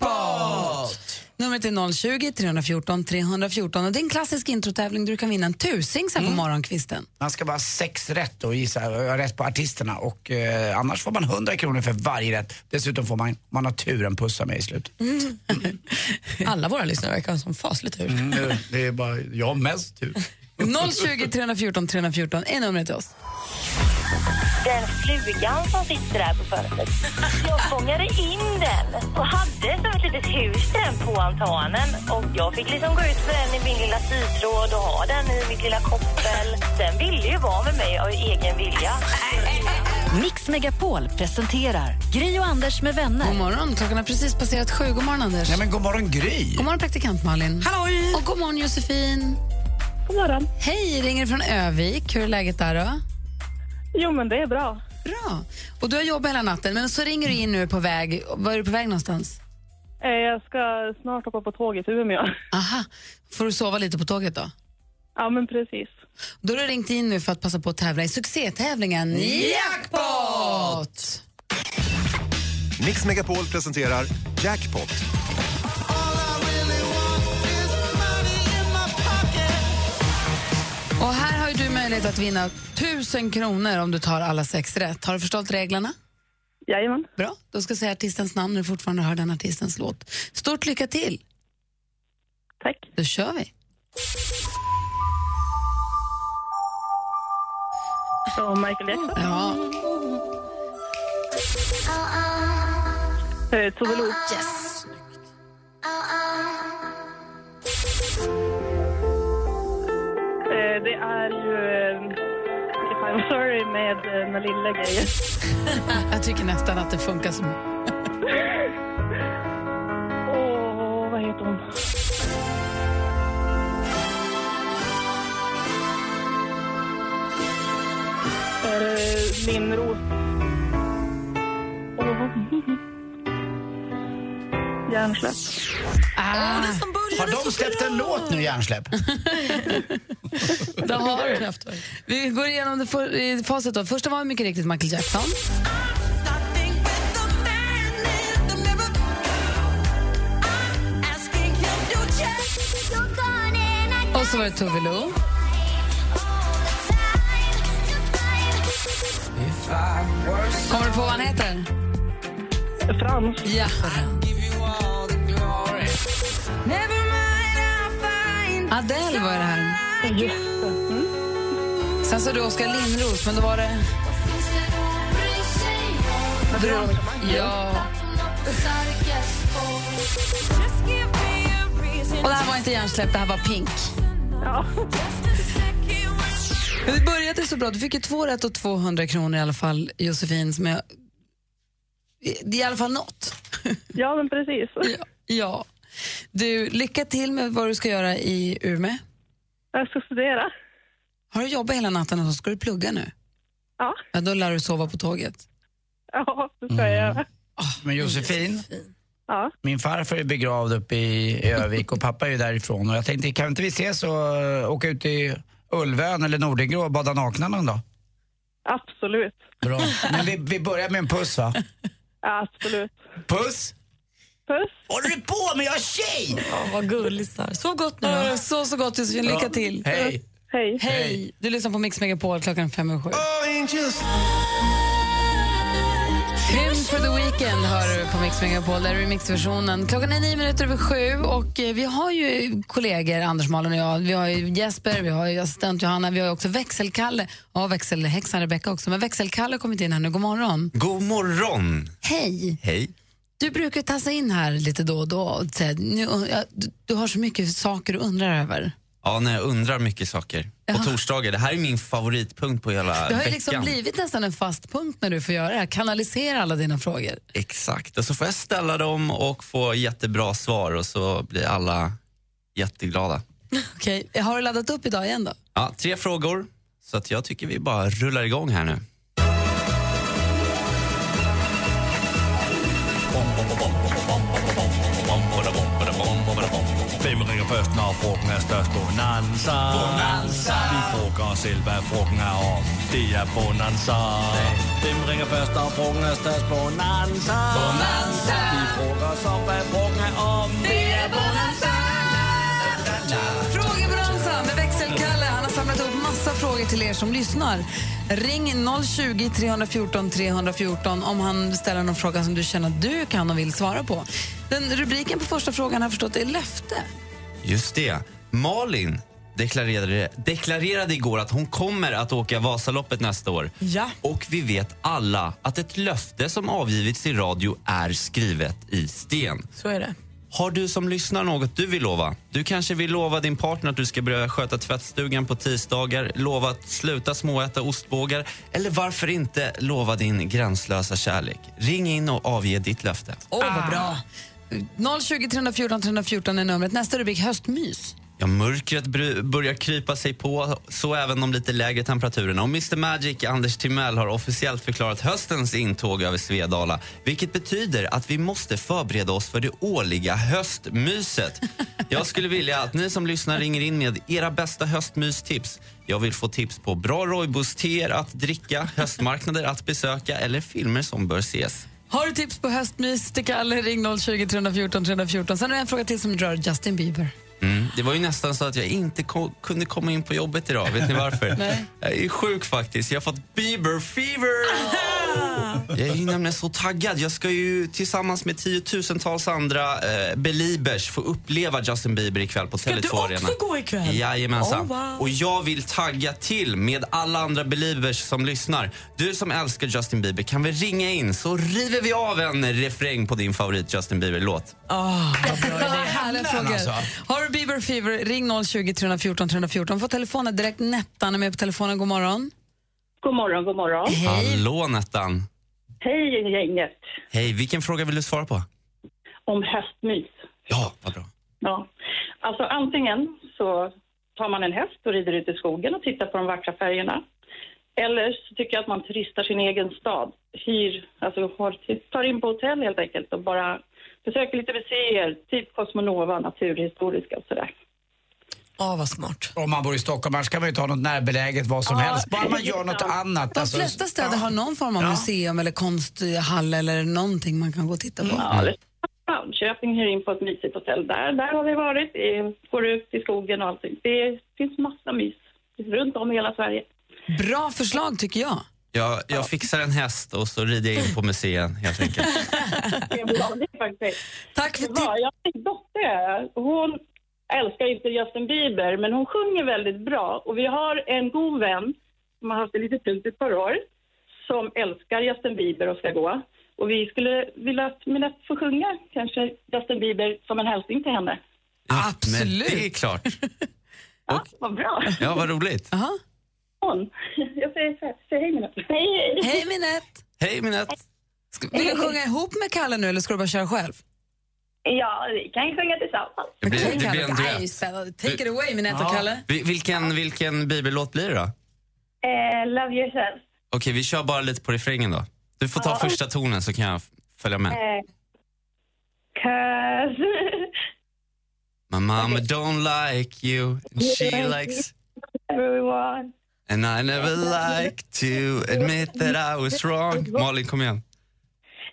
Jackpot!
Numret är 020 314 314 och det är en klassisk introtävling där du kan vinna en tusing så här
Mm.
på morgonkvisten.
Man ska bara ha sex rätt och gissa och ha rätt på artisterna. Och, eh, annars får man 100 kronor för varje rätt. Dessutom får man, man har turen pussa med i slutet.
Mm.
Alla våra lyssnare verkar ha som faslig tur.
Mm, Det, är bara jag har mest tur.
020 314 314 är numret till oss.
Den flugan som sitter där på fönstret. Jag fångade in den och hade som ett litet hus den på altanen. Och jag fick liksom gå ut med den i min lilla sytråd och ha den i mitt lilla koppel. Den ville ju vara med mig av egen vilja.
Mix Megapol presenterar Gry och Anders med vänner.
God morgon, klockan har precis passerat sju. God morgon Anders.
Nej, men god morgon Gry.
God morgon praktikant Malin. Halloj! Och god morgon Josefin. God morgon. Hej, ringer från Övik. Hur är läget där då? Jo men det är bra. Bra. Och du har jobbat hela natten men så ringer du in nu på väg. Var är du på väg någonstans?
Eh, Jag ska snart hoppa på tåget till Umeå.
Aha. Får du sova lite på tåget då?
Ja, men precis.
Då har du ringt in nu för att passa på att tävla i succétävlingen Jackpot!
Mix Megapol presenterar Jackpot.
Och här har ju du möjlighet att vinna 1000 kronor om du tar alla sex rätt. Har du förstått reglerna?
Jajamän.
Bra, då ska jag säga artistens namn när du fortfarande hör den artistens låt. Stort lycka till!
Tack.
Då kör vi.
Så Michael Jackson.
Ah. Ja.
Eh, Tove Lo.
Yes.
Eh, det är ju... Eh, if I'm sorry med eh, den lilla grejen.
Jag tycker nästan att det funkar som...
Åh, vad heter hon? Eh, Linnros. Åh, Hjärnsläpp.
Ah.
Har de släppt en låt nu, Hjärnsläpp?
Där har du. Vi går igenom det för, i facit. Då. Första var mycket riktigt Michael Jackson. Och så var det Tove Lo. Kommer du på vad han heter?
Frans.
Ja. Adele var det här. Sen så du Oskar Lindros, men då var det... Drog. Ja. Och det här var inte hjärnsläpp, det här var Pink. Men det började så bra. Du fick ju två rätt och 200 kronor i alla fall, Josefin. Som jag... Det är i alla fall något.
Ja, men precis.
Ja. Ja. Du, lycka till med vad du ska göra i Umeå.
Jag ska studera.
Har du jobbat hela natten och så ska du plugga nu?
Ja.
ja då lär du sova på tåget.
Ja, det ska jag göra.
Mm. Men
Mm,
Josefin,
Ja.
min farfar är begravd uppe i Övik och pappa är ju därifrån. Och jag tänkte, kan inte vi ses och eh, åka ut till Ulvön eller Nordingrå och bada nakna någon dag?
Absolut.
Bra. Men vi, vi börjar med en puss, va?
Absolut.
Puss!
Puss.
Håller du på med? Jag är tjej!
Oh, vad gullisar. Så gott nu då.
Så, så gott Josefin. Lycka till.
Hej.
Hej.
Hej. Du lyssnar på Mix Megapol klockan fem och sju. Hymns for the Weekend hör du på Mix Megapol, där är mixversionen. Klockan är nio minuter över sju och eh, vi har ju kollegor, Anders, Malin och jag. Vi har ju Jesper, vi har ju assistent Johanna, vi har ju också växelkalle. Ja, växelhäxan Rebecka också. Men växelkalle har kommit in här nu. God morgon.
God morgon!
Hej!
Hej.
Du brukar tassa in här lite då och då och säga nu, ja, du, du har så mycket saker du undrar över.
Ja, när jag undrar mycket saker. På torsdagar. Det här är min favoritpunkt på hela
Det har ju
veckan.
liksom blivit nästan en fast punkt när du får göra det här. Kanalisera alla dina frågor.
Exakt. Och så får jag ställa dem och få jättebra svar och så blir alla jätteglada.
Okej, har du laddat upp idag igen då?
Ja, tre frågor. Så att jag tycker vi bara rullar igång här nu.
Vem ringer först när frågan är störst? Bonanza.
Bonanza.
Vi frågar oss själva vad frågan är om. Det är bonanza. Vem ringer först när frågan är störst? Bonanza.
Bonanza.
Vi frågar oss om vad frågan är om.
Det är Bonanza! Frågebronsa med växelkalle. Han har samlat upp massa frågor till er som lyssnar. Ring 020 314 314 om han ställer någon fråga som du känner att du kan och vill svara på. Den rubriken på första frågan har jag förstått är löfte.
Just det. Malin deklarerade, deklarerade igår att hon kommer att åka Vasaloppet nästa år.
Ja.
Och vi vet alla att ett löfte som avgivits i radio är skrivet i sten.
Så är det.
Har du som lyssnar något du vill lova? Du kanske vill lova din partner att du ska börja sköta tvättstugan på tisdagar, lova att sluta småäta ostbågar eller varför inte lova din gränslösa kärlek? Ring in och avge ditt löfte.
Åh, vad bra! 020 314 314 är numret. Nästa rubrik, höstmys.
Ja, mörkret bru- börjar krypa sig på, så även de lite lägre temperaturerna. Och Mr Magic, Anders Timell, har officiellt förklarat höstens intåg över Svedala vilket betyder att vi måste förbereda oss för det årliga höstmyset. Jag skulle vilja att ni som lyssnar ringer in med era bästa höstmystips. Jag vill få tips på bra rooibos-teer att dricka, höstmarknader att besöka eller filmer som bör ses.
Har du tips på höstmys till Kalle, ring 020 314 314. Sen är det en fråga till som rör Justin Bieber.
Mm. Det var ju nästan så att jag inte ko- kunde komma in på jobbet idag. Vet ni varför?
Nej.
Jag är sjuk faktiskt. Jag har fått Bieber fever. Jag är ju nämligen så taggad. Jag ska ju tillsammans med tiotusentals andra eh, beliebers få uppleva Justin Bieber ikväll på Tele2
du också
Arena.
gå ikväll?
Jajamensan.
Oh, wow.
Och jag vill tagga till med alla andra beliebers som lyssnar. Du som älskar Justin Bieber kan väl ringa in så river vi av en refräng på din favorit Justin Bieber-låt.
Ah,
Härliga frågor.
alltså.
Har du Bieber Fever, ring 020 314 314. Få telefonen direkt. Nettan är med på telefonen. God morgon.
God morgon, god morgon.
Hallå Nettan.
Hej gänget.
Hej, vilken fråga vill du svara på?
Om höstmys.
Ja, vad bra.
Ja. Alltså antingen så tar man en häst och rider ut i skogen och tittar på de vackra färgerna. Eller så tycker jag att man turistar sin egen stad. Hyr, alltså har- tar in på hotell helt enkelt och bara besöker lite museer, typ Cosmonova, Naturhistoriska och sådär.
Ja, vad smart.
Om man bor i Stockholm, annars kan man ju ta något närbeläget, vad som
Ja,
helst. Bara man gör något
ja.
annat.
De
alltså.
flesta städer
Ja.
har någon form av
Ja.
museum eller konsthall eller någonting man kan gå och titta på.
Malmköping hyr in på ett mysigt hotell. Där, där har vi varit. Eh, Går ut i skogen och allting. Det finns massa mys runt om i hela Sverige.
Bra förslag tycker jag.
Jag, jag fixar en häst och så rider jag in på museet helt enkelt.
Det är bra, det är faktiskt.
Tack
för det. Jag har en dotter. Hon älskar inte Justin Bieber, men hon sjunger väldigt bra. Och vi har en god vän som har haft det lite tungt ett par år som älskar Justin Bieber och ska gå. Och vi skulle vilja att Minette får sjunga kanske Justin Bieber som en hälsning till henne.
Absolut. Men det är klart.
Vad bra!
Ja, vad roligt.
Hon. Jag säger så här, säg hej Minette. Hej!
Hej Minette!
Hej Minette.
Ska- Vill du sjunga ihop med Kalle nu eller ska du bara köra själv?
Ja, vi kan sjunga tillsammans.
Det blir, det blir en
Aj,
duett.
spännande. Take it away Minette och Kalle.
Vi- Vilken, vilken bibellåt blir det då?
Eh, love yourself.
Okej, vi kör bara lite på refrängen då. Du får ta
Ja.
första tonen så kan jag f- följa med.
Eh, cause...
My mama don't like you, and she likes,
Everyone.
and I never like to admit that I was wrong. Malin, kom igen.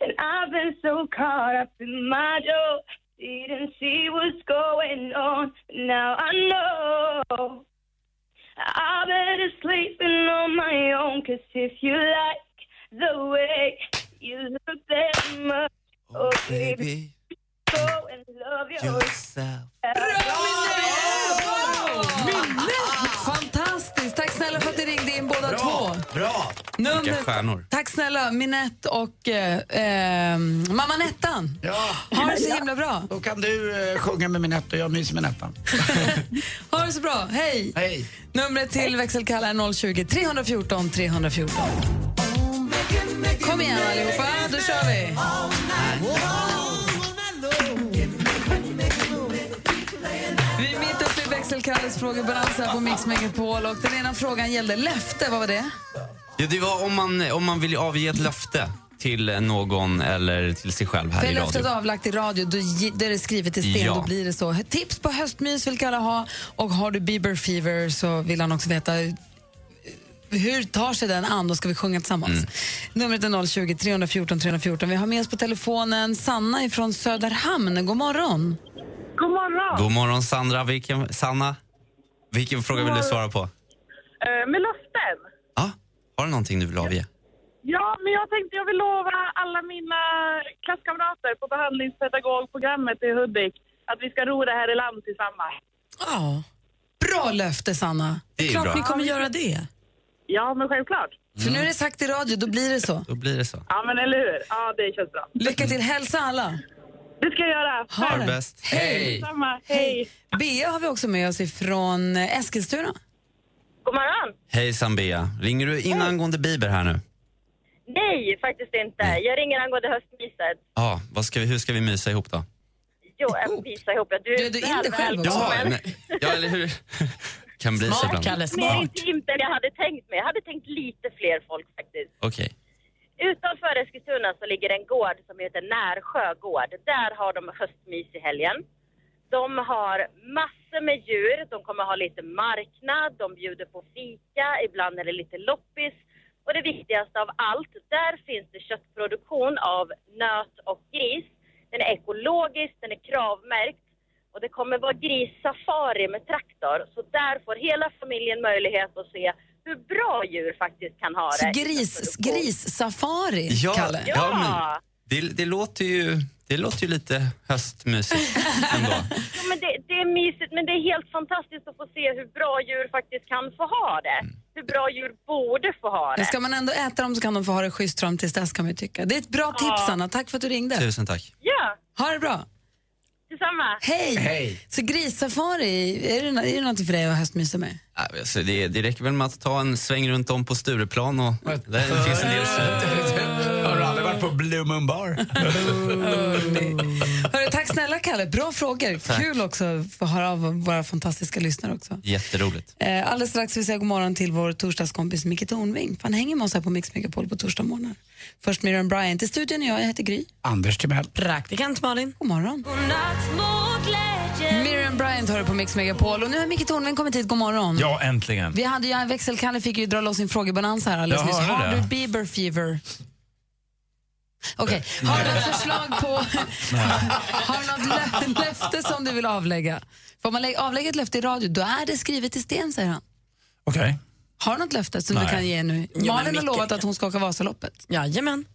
And I've been so caught up in my job, didn't see what's going on. Now I know I better sleeping on my own. Cause if you like the way you look that much, oh, baby, go and love
yourself.
Fantastiskt! Tack snälla för att ni ringde in båda två.
Bra!
Vilka stjärnor.
Tack snälla Minette och eh, eh, mamma Nettan.
Ja.
Ha det så himla bra.
Då kan du eh, sjunga med Minette och jag myser med Nettan.
Ha det så bra. Hej!
Hej.
Numret till växelkalla är 020 314 314. Kom igen allihopa, då kör vi! Vi är mitt uppe i växelkalles frågebalans här på Mix Megapol och den ena frågan gällde löfte, vad var det?
Ja, det var om man, om man vill avge ett löfte till någon eller till sig själv här
För
i
löftet
radio.
avlagt i radio, då, ge- då är det skrivet i sten,
Ja.
då blir det så. Tips på höstmys vill Kalle ha och har du Bieber fever så vill han också veta eh, hur tar sig den an? Då ska vi sjunga tillsammans.
Mm.
Numret är 020 314 314. Vi har med oss på telefonen Sanna ifrån Söderhamn. God morgon.
God morgon!
God morgon Sandra. Vilken, Sanna, vilken fråga vill du svara på?
Eh,
med löften?
Har du någonting du vill avge?
Ja, men jag tänkte jag vill lova alla mina klasskamrater på behandlingspedagogprogrammet i Hudik att vi ska ro det här i land tillsammans.
Ja. Bra löfte, Sanna.
Det är
klart
bra. Mm.
ni kommer göra det.
Ja, men självklart.
För nu är det sagt i radio, då blir det så.
Då blir det så.
Ja, men eller hur? Ja, det känns bra.
Lycka till. Hälsa alla.
Det ska jag göra.
Ha det bäst. Hej.
Samma. Hej.
Bea har vi också med oss ifrån eh, Eskilstuna.
God morgon.
Hej Sambea. Ringer du in angående Bieber här nu?
Nej, faktiskt inte. Jag ringer angående höstmyset.
Ja, vad ska vi, hur ska vi mysa ihop då?
Jo, jag visar ihop. Oh. Du, du är inte själv
Ja, nej, ja eller hur? kan bli så ibland.
Mer intimt än jag hade tänkt mig. Jag hade tänkt lite fler folk faktiskt.
Okej.
Utanför Eskilstuna så ligger en gård som heter Närsjö gård. Där har de höstmys i helgen. De har massor med djur, de kommer ha lite marknad, de bjuder på fika, ibland är det lite loppis. Och det viktigaste av allt, där finns det köttproduktion av nöt och gris. Den är ekologisk, den är kravmärkt och det kommer vara grissafari med traktor. Så där får hela familjen möjlighet att se hur bra djur faktiskt kan ha
Så
det.
gris, grissafari,
Ja,
Kalle?
ja men det, det, låter ju, det låter ju lite höstmysigt ändå.
Ja, men det, det är mysigt, men det är helt fantastiskt att få se hur bra djur faktiskt kan få ha det. Hur bra djur borde få ha det.
Men ska man ändå äta dem så kan de få ha det schysst fram tills dess kan man ju tycka. Det är ett bra tips Anna, tack för att du ringde.
Tusen tack.
Ja,
Ha det bra.
detsamma.
Hej! Så grissafari, är det, är det någonting för dig att höstmysa med?
Nej, Alltså, det, det räcker väl med att ta en sväng runt om på Stureplan och där finns en del
Har du aldrig varit på Blue Moon Bar?
Hörru, tack snälla Kalle, bra frågor.
Tack.
Kul också att få höra av våra fantastiska lyssnare också.
Jätteroligt.
Eh, alldeles strax ska vi säga god morgon till vår torsdagskompis Micke Tornving. Han hänger med oss här på Mix Megapol på torsdag morgon. Först Miriam Bryant i studion och jag, jag heter Gry.
Anders Timell.
Praktikant Malin. God morgon. Miriam Bryant hör du på Mix Megapol och nu har Micke Tornving kommit hit. God morgon.
Ja, äntligen.
Vi hade ju, Växelkalle fick ju dra loss sin frågebonanza här alldeles
Jag
nyss.
hörde
Har
det.
du Bieber fever? Okej, har du något förslag på... har du något lö- löfte som du vill avlägga? Får man lä- avlägga ett löfte i radio, då är det skrivet i sten, säger han.
Okej.
Har du något löfte som du
Nej.
kan ge nu?
men
Malin har
Micke
lovat att hon ska åka Vasaloppet.
Jajamän.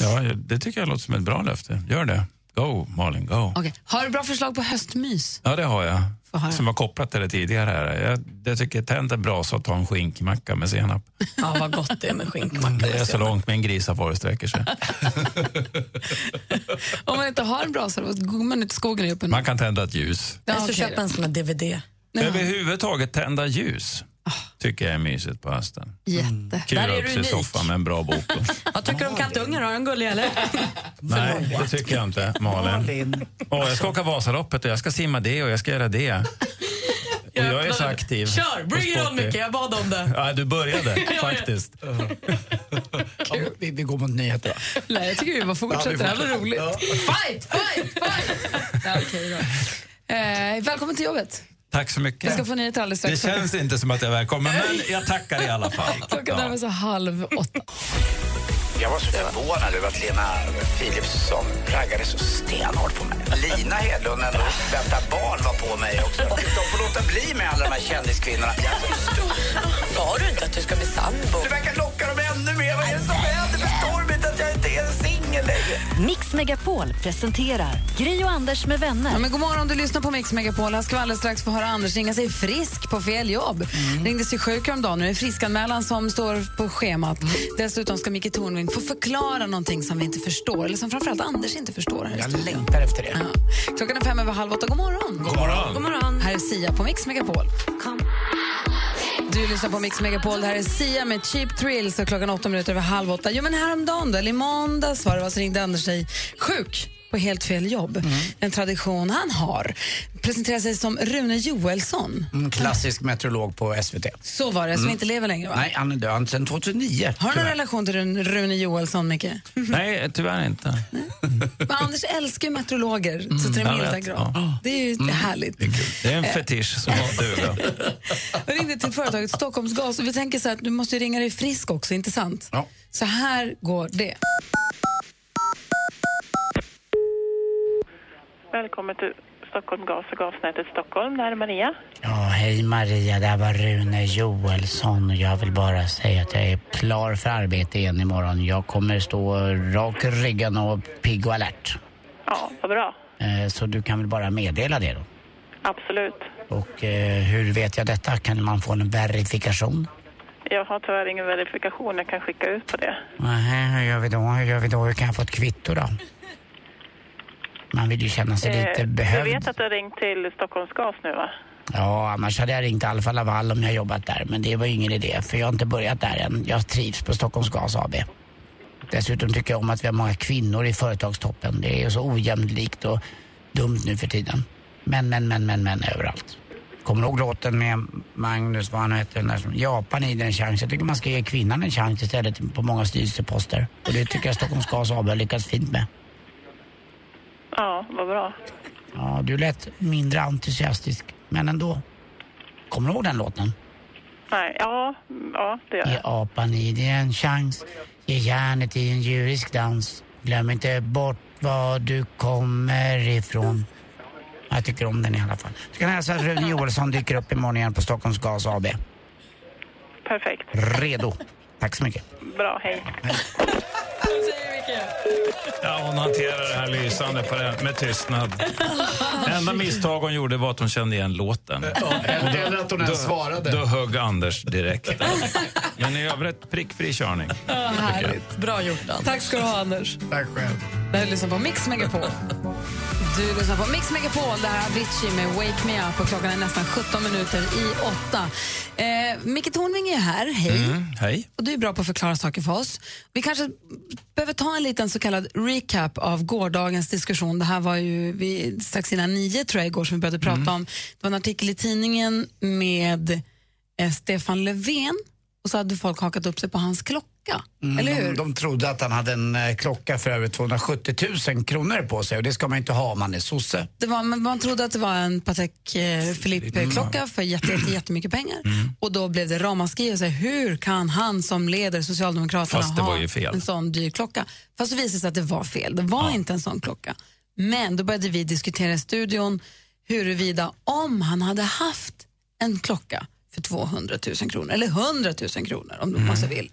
Ja, det tycker jag låter som ett bra löfte. Gör det. Go, Malin, go.
Okej. Har du bra förslag på höstmys?
Ja, det har jag.
Få höra.
Som var kopplat till det tidigare. Här. Jag, jag tycker tänd en brasa och ta en skinkmacka med senap.
Ja, vad gott det är med skinkmacka.
Mm,
Det är så långt min grisafari sträcker sig.
Om man inte har en brasa, då går man ut i skogen och gör upp en...
Man kan tända ett ljus.
Ja,
så
okej
köper
då.
en sån här DVD.
Överhuvudtaget tända ljus tycker jag är mysigt på hösten.
Mm,
Jätte.
Där
Kura
är
upp
du
sig i
unik.
soffan med en bra bok. och-
Vad tycker du om kattungar? Har de gulliga eller?
Nej, det tycker jag inte, Malin. Åh, jag ska åka Vasaloppet och jag ska simma det och jag ska göra det. Och jag är så aktiv.
Kör!
och
Bring it on
sportig.
Micke, jag bad om det.
Ja, du började
Ja, ja.
faktiskt.
vi, vi går mot nyheter.
Nej, jag tycker vi bara fortsätter.
Ja, vi
det här
fortsätter.
var roligt. Fight, fight, fight! ja, okej då. Eh, välkommen till jobbet.
Tack så mycket.
Vi ska få nyheter alldeles
det
strax.
känns inte som att jag är välkommen, men jag tackar i alla fall.
Klockan närmar sig halv åtta.
Jag var så förvånad över att Lena Philipsson raggade så stenhårt på mig. Lina Hedlund, ändå väntar barn, var på mig också. De får låta bli med alla de här kändiskvinnorna.
Sa du inte att du ska bli sambo?
Du verkar locka dem ännu mer. Vad är det som händer? Förstår de inte att jag inte är singel längre?
Mix Megapol presenterar Gri och Anders med vänner.
Ja, men god morgon, du lyssnar på Mix Megapol. Här ska vi alldeles strax få höra Anders ringa sig frisk på fel jobb. Ringde sig sjuk häromdagen. Nu är det friskanmälan som står på schemat. Dessutom ska Micke Tornving få förklara någonting som vi inte förstår, eller som framförallt Anders inte förstår. Här i studion.
längtar efter det.
Klockan är fem över halv åtta. God morgon!
God morgon. God
morgon. Här är Sia på Mix Megapol. Du lyssnar på Mix Megapol. Det här är Sia med Cheap Thrills och klockan åtta minuter över halv åtta. Jo, men häromdagen då, eller i måndags var det, va, så ringde Anders sig sjuk på helt fel jobb. En tradition han har. Presenterar sig som Rune Joelsson.
En Mm, klassisk meteorolog på SVT.
Så var det, som
Mm.
inte lever längre va?
Mm. Nej, han är död sedan 2009.
Har du någon
tyvärr.
relation till Rune- Rune Joelsson, Micke?
Nej, tyvärr inte.
Men Anders älskar ju meteorologer så till
jag
den milda
vet,
grad.
ja. Mm.
Det är ju härligt. Eh.
Det är en fetisch som duger.
Jag ringde till företaget Stockholmsgas och vi tänker så här att du måste ju ringa dig frisk också, inte sant? Så här går det.
Välkommen till Stockholm Gas och gasnätet Stockholm. Det här är Maria.
Ja, hej Maria, det här var Rune Joelsson och jag vill bara säga att jag är klar för arbete igen imorgon. Jag kommer stå rak i ryggen och pigg och alert.
Ja, vad bra.
Eh, Så du kan väl bara meddela det då?
Absolut.
Och eh, hur vet jag detta? Kan man få en verifikation?
Jag har tyvärr ingen verifikation jag kan skicka ut på det.
Nej, hur gör vi då? Hur gör vi då? Hur kan jag få ett kvitto då? Man vill ju känna sig lite
Eh,
behövd.
Du vet att du har ringt till Stockholms Gas nu va?
Ja, annars hade jag ringt Alfa Laval om jag jobbat där. Men det var ju ingen idé, för jag har inte börjat där än. Jag trivs på Stockholms Gas AB. Dessutom tycker jag om att vi har många kvinnor i företagstoppen. Det är ju så ojämlikt och dumt nu för tiden. Män, män, män, män, män överallt. Kommer du ihåg låten med Magnus, vad han heter, den där som Japan i den chans. Jag tycker man ska ge kvinnan en chans istället på många styrelseposter. Och det tycker jag Stockholms Gas AB har lyckats fint med.
Ja, vad bra.
Ja, du lät mindre entusiastisk, men ändå. Kommer du ihåg den låten?
Nej, ja, mm, ja det gör
Ge
jag.
apan i dig en chans. Ge järnet i en djurisk dans. Glöm inte bort var du kommer ifrån. Jag tycker om den i alla fall. Du kan hälsa att Rune Joelsson dyker upp imorgon igen på Stockholms Gas AB.
Perfekt.
Redo. Tack så mycket.
Bra, hej.
Ja, hon hanterar det här lysande på det, med tystnad. Enda misstag hon gjorde var att hon kände igen låten.
eller- eller att hon ens
Då-
svarade.
Då högg Anders direkt. Men i övrigt prickfri körning.
Ja,
härligt. Bra gjort, Anders.
Tack ska du ha, Anders.
Tack själv.
Det här lyssnar på Mix Megapol.
Du lyssnar på Mix Megapol, det här är Avicii med Wake Me Up och klockan är nästan
17 minuter i 8. Eh, Micke Tornving är här, hej.
Mm, hej.
Och du är bra på att förklara saker för oss. Vi kanske behöver ta en liten så kallad recap av gårdagens diskussion. Det här var ju vid, strax innan nio tror jag igår som vi började prata om. Det var en artikel i tidningen med eh, Stefan Löfven och så hade folk hakat upp sig på hans klocka.
Mm,
eller
de-
hur?
De trodde att han hade en eh, klocka för över 270 000 kronor på sig och det ska man inte ha om man är sosse.
Det var, man, man trodde att det var en Patek eh,
Mm.
Philippe-klocka för jätte, jätte, jättemycket pengar. Och då blev det ramaskri och så här, hur kan han som leder Socialdemokraterna
Fast det
ha
var ju fel.
en sån dyr klocka? Fast det visade sig att det var fel, det var inte en sån klocka. Men då började vi diskutera i studion huruvida om han hade haft en klocka för 200 000 kronor, eller 100 000 kronor om
Mm.
man så vill,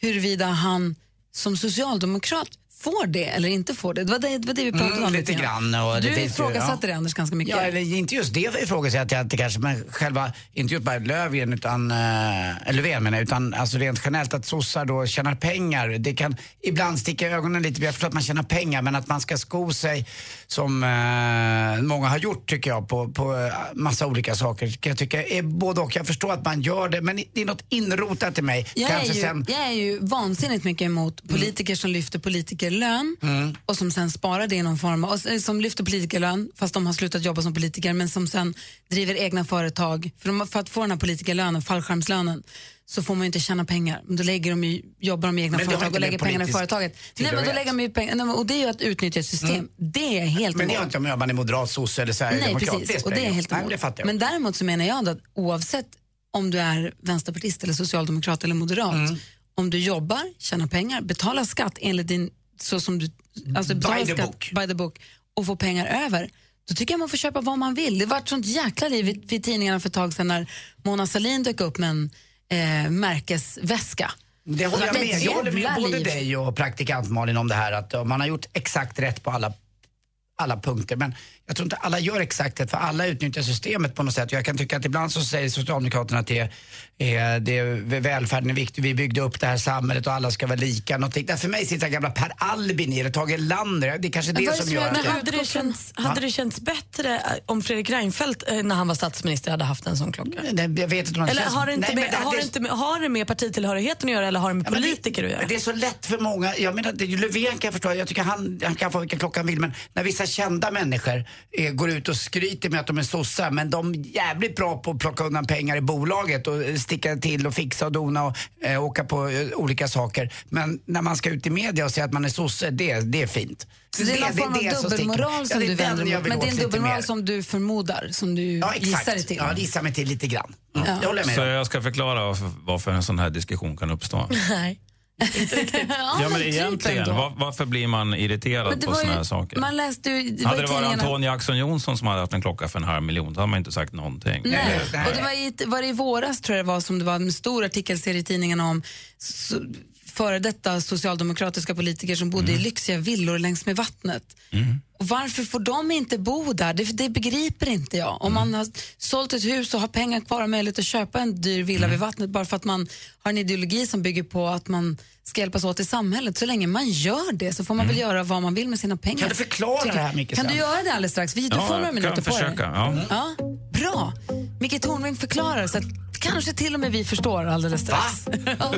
huruvida han som socialdemokrat får det eller inte får det. Det var det, det, var det vi pratade
Mm,
om
lite grann, och det
du
finns ju-
ifrågasatte
ja.
det Anders ganska mycket.
Ja, eller inte just det ifrågasätter jag inte kanske, men själva, inte just bara Löfven utan, eh, eller Löfven menar jag, utan alltså rent generellt att sossar då tjänar pengar. Det kan ibland sticka i ögonen lite, jag förstår att man tjänar pengar, men att man ska sko sig som eh, många har gjort tycker jag på, på eh, massa olika saker kan jag tycka är både och. Jag förstår att man gör det, men det är något inrotat i mig.
Jag är,
kanske
ju,
sen...
jag är ju vansinnigt mycket emot politiker som lyfter politikerlön
Mm.
och som sen sparar det i någon form, av- och s- som lyfter politikerlön fast de har slutat jobba som politiker men som sen driver egna företag. För, de, för att få den här politikerlönen, fallskärmslönen, så får man ju inte tjäna pengar. Men Då lägger de ju, jobbar de i egna
Men det har
företag
inte
och
med
lägger pengarna i
politisk
företaget. Nej, men då
tillhörighet.
lägger de ju pengar, nej, men- och det är ju att utnyttja ett system.
Mm.
Det är jag helt
Men det
emot.
har inte om man är moderat, sosse eller
Nej,
sverigedemokrat.
precis. och
spelar
det är
ingen
helt
roll.
emot.
Nej, det fattar jag.
Men däremot så menar jag då att oavsett om du är vänsterpartist eller socialdemokrat eller moderat,
Mm.
om du jobbar, tjänar pengar, betalar skatt enligt din, så som du, alltså
By
betalar
the
skatt by the book och får pengar över, då tycker jag man får köpa vad man vill. Det var ett sånt jäkla liv vid, vid tidningarna för ett tag sedan när Mona Sahlin dök upp med en eh, märkesväska.
Det håller jag
Men
med. Jag håller med
jävla
både
liv.
dig och praktikant Malin om det här att eh, man har gjort exakt rätt på alla, alla punkter. Men jag tror inte alla gör exakt rätt för alla utnyttjar systemet på något sätt. Jag kan tycka att ibland så säger Socialdemokraterna att det är, eh, det är, välfärden är viktig, vi byggde upp det här samhället och alla ska vara lika. Någonting. Där för mig sitter gamla Per Albin i det, Tage Erlander. Det är kanske det som gör
Men
att
hade,
det...
det känts, hade
Va?
det känts bättre eh, om Fredrik Reinfeldt eh, när han var statsminister hade haft en sån klocka?
jag vet inte om det
eller
känns-
har det, inte
Nej, men
med,
det-
har,
det-
det inte med, har det med partitillhörigheten att göra eller har det med
men det-
politiker att göra?
Men det är så lätt för många. Jag menar, det, Löfven kan jag förstå. Jag tycker han, han kan få vilken klocka han vill. Men när vissa kända människor eh, går ut och skryter med att de är sossar men de är jävligt bra på att plocka undan pengar i bolaget och eh, sticka till och fixa och dona och eh, åka på eh, olika saker. Men när man ska ut i media och säga att man är sosse, det, det är fint.
Så det är någon form av
som sticker.
dubbelmoral
Ja,
som
det är
du
den
vänder dig
jag
mot.
vill
Men det är
åt
en
lite
dubbelmoral
mer.
som du förmodar, som du
Ja,
gissar dig
exakt.
till.
Ja, gissar mig till lite grann. Mm.
Ja.
Jag håller med.
Så jag ska förklara varför- varför en sån här diskussion kan uppstå.
Nej. ja,
Ja, men
typ
egentligen,
ändå.
var, varför blir man irriterad
Men det
på
var
såna
ju-
här saker?
Man läste ju, det var
hade
i
det varit
tidningarna-
Antonia Axon Johnson som hade haft en klocka för en halv miljon, då hade man inte sagt någonting.
Nej.
Eller-
Och det var, i, var det i våras tror jag det var som det var en stor artikelserie i tidningarna om so, före detta socialdemokratiska politiker som bodde
Mm.
i lyxiga villor längs med vattnet. Och varför får de inte bo där? Det, det begriper inte jag. Om
Mm.
man har sålt ett hus och har pengar kvar och möjlighet att köpa en dyr villa
Mm.
vid vattnet bara för att man har en ideologi som bygger på att man ska hjälpas åt i samhället. Så länge man gör det så får man väl göra vad man vill med sina pengar.
Mm. Kan du förklara
Tycker-
det här, Micke,
Kan du
sen?
göra det alldeles strax? Vi, du
Ja,
får några
jag kan
minuter på dig.
försöka, ja.
Ja, bra. Micke Tornving förklarar så att kanske till och med vi förstår alldeles strax. Ja.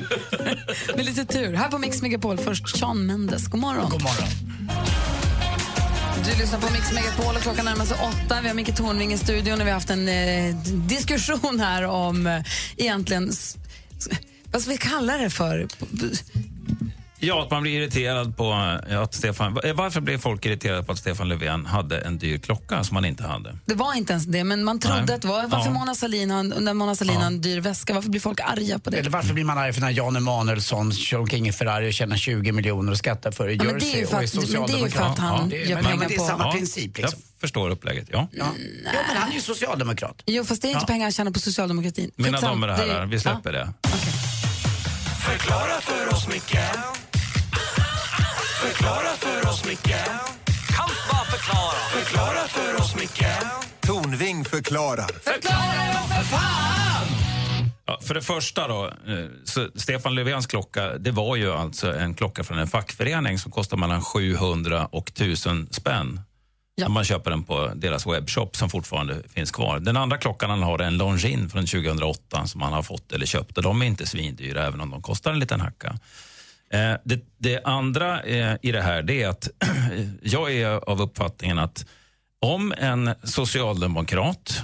Med lite tur. Här på Mix Megapol först Sean Mendes. God morgon. God
morgon.
Du lyssnar på Mix Megapol och klockan närmar sig åtta. Vi har Micke Tornving i studion och vi har haft en eh, diskussion här om eh, egentligen s- s- vad ska vi kalla det för?
Ja, att man blir irriterad på eh, att Stefan... eh, Varför blev folk irriterade på att Stefan Löfven hade en dyr klocka som han inte hade?
Det var inte ens det, men man trodde
Nej.
att det var. Varför
Ja.
Mona Sahlin har, en- när Mona Sahlin har en dyr väska, varför blir folk arga på det?
Eller varför blir man arg för när Jan Emanuelsson kör omkring i Ferrari och tjänar 20 miljoner och skattar för i
Ja, men det är ju
Jersey
för
och är
att- men det är ju för att
socialdemokrat?
han
det är-
gör
men-
pengar
men Det är
på-
samma
Ja.
princip. Liksom.
Jag förstår upplägget, ja.
Ja. ja, men han är ju socialdemokrat.
Jo, fast det är inte
Ja.
pengar jag tjänar på socialdemokratin.
Mina
Skitsam.
damer och herrar,
är-
vi släpper det.
Förklara för oss, Micke Förklara för oss, Micke Kan bara förklara Förklara för oss, Micke
Tornving förklarar.
Förklara då för fan!
Ja, för det första då, eh, så Stefan Löfvens klocka, det var ju alltså en klocka från en fackförening som kostar mellan 700 och 1000 spänn.
Ja.
Man köper den på deras webbshop som fortfarande finns kvar. Den andra klockan han har är en Longines från 2008 som han har fått eller köpt. Och de är inte svindyra även om de kostar en liten hacka. Eh, Det, det andra eh, i det här det är att jag är av uppfattningen att om en socialdemokrat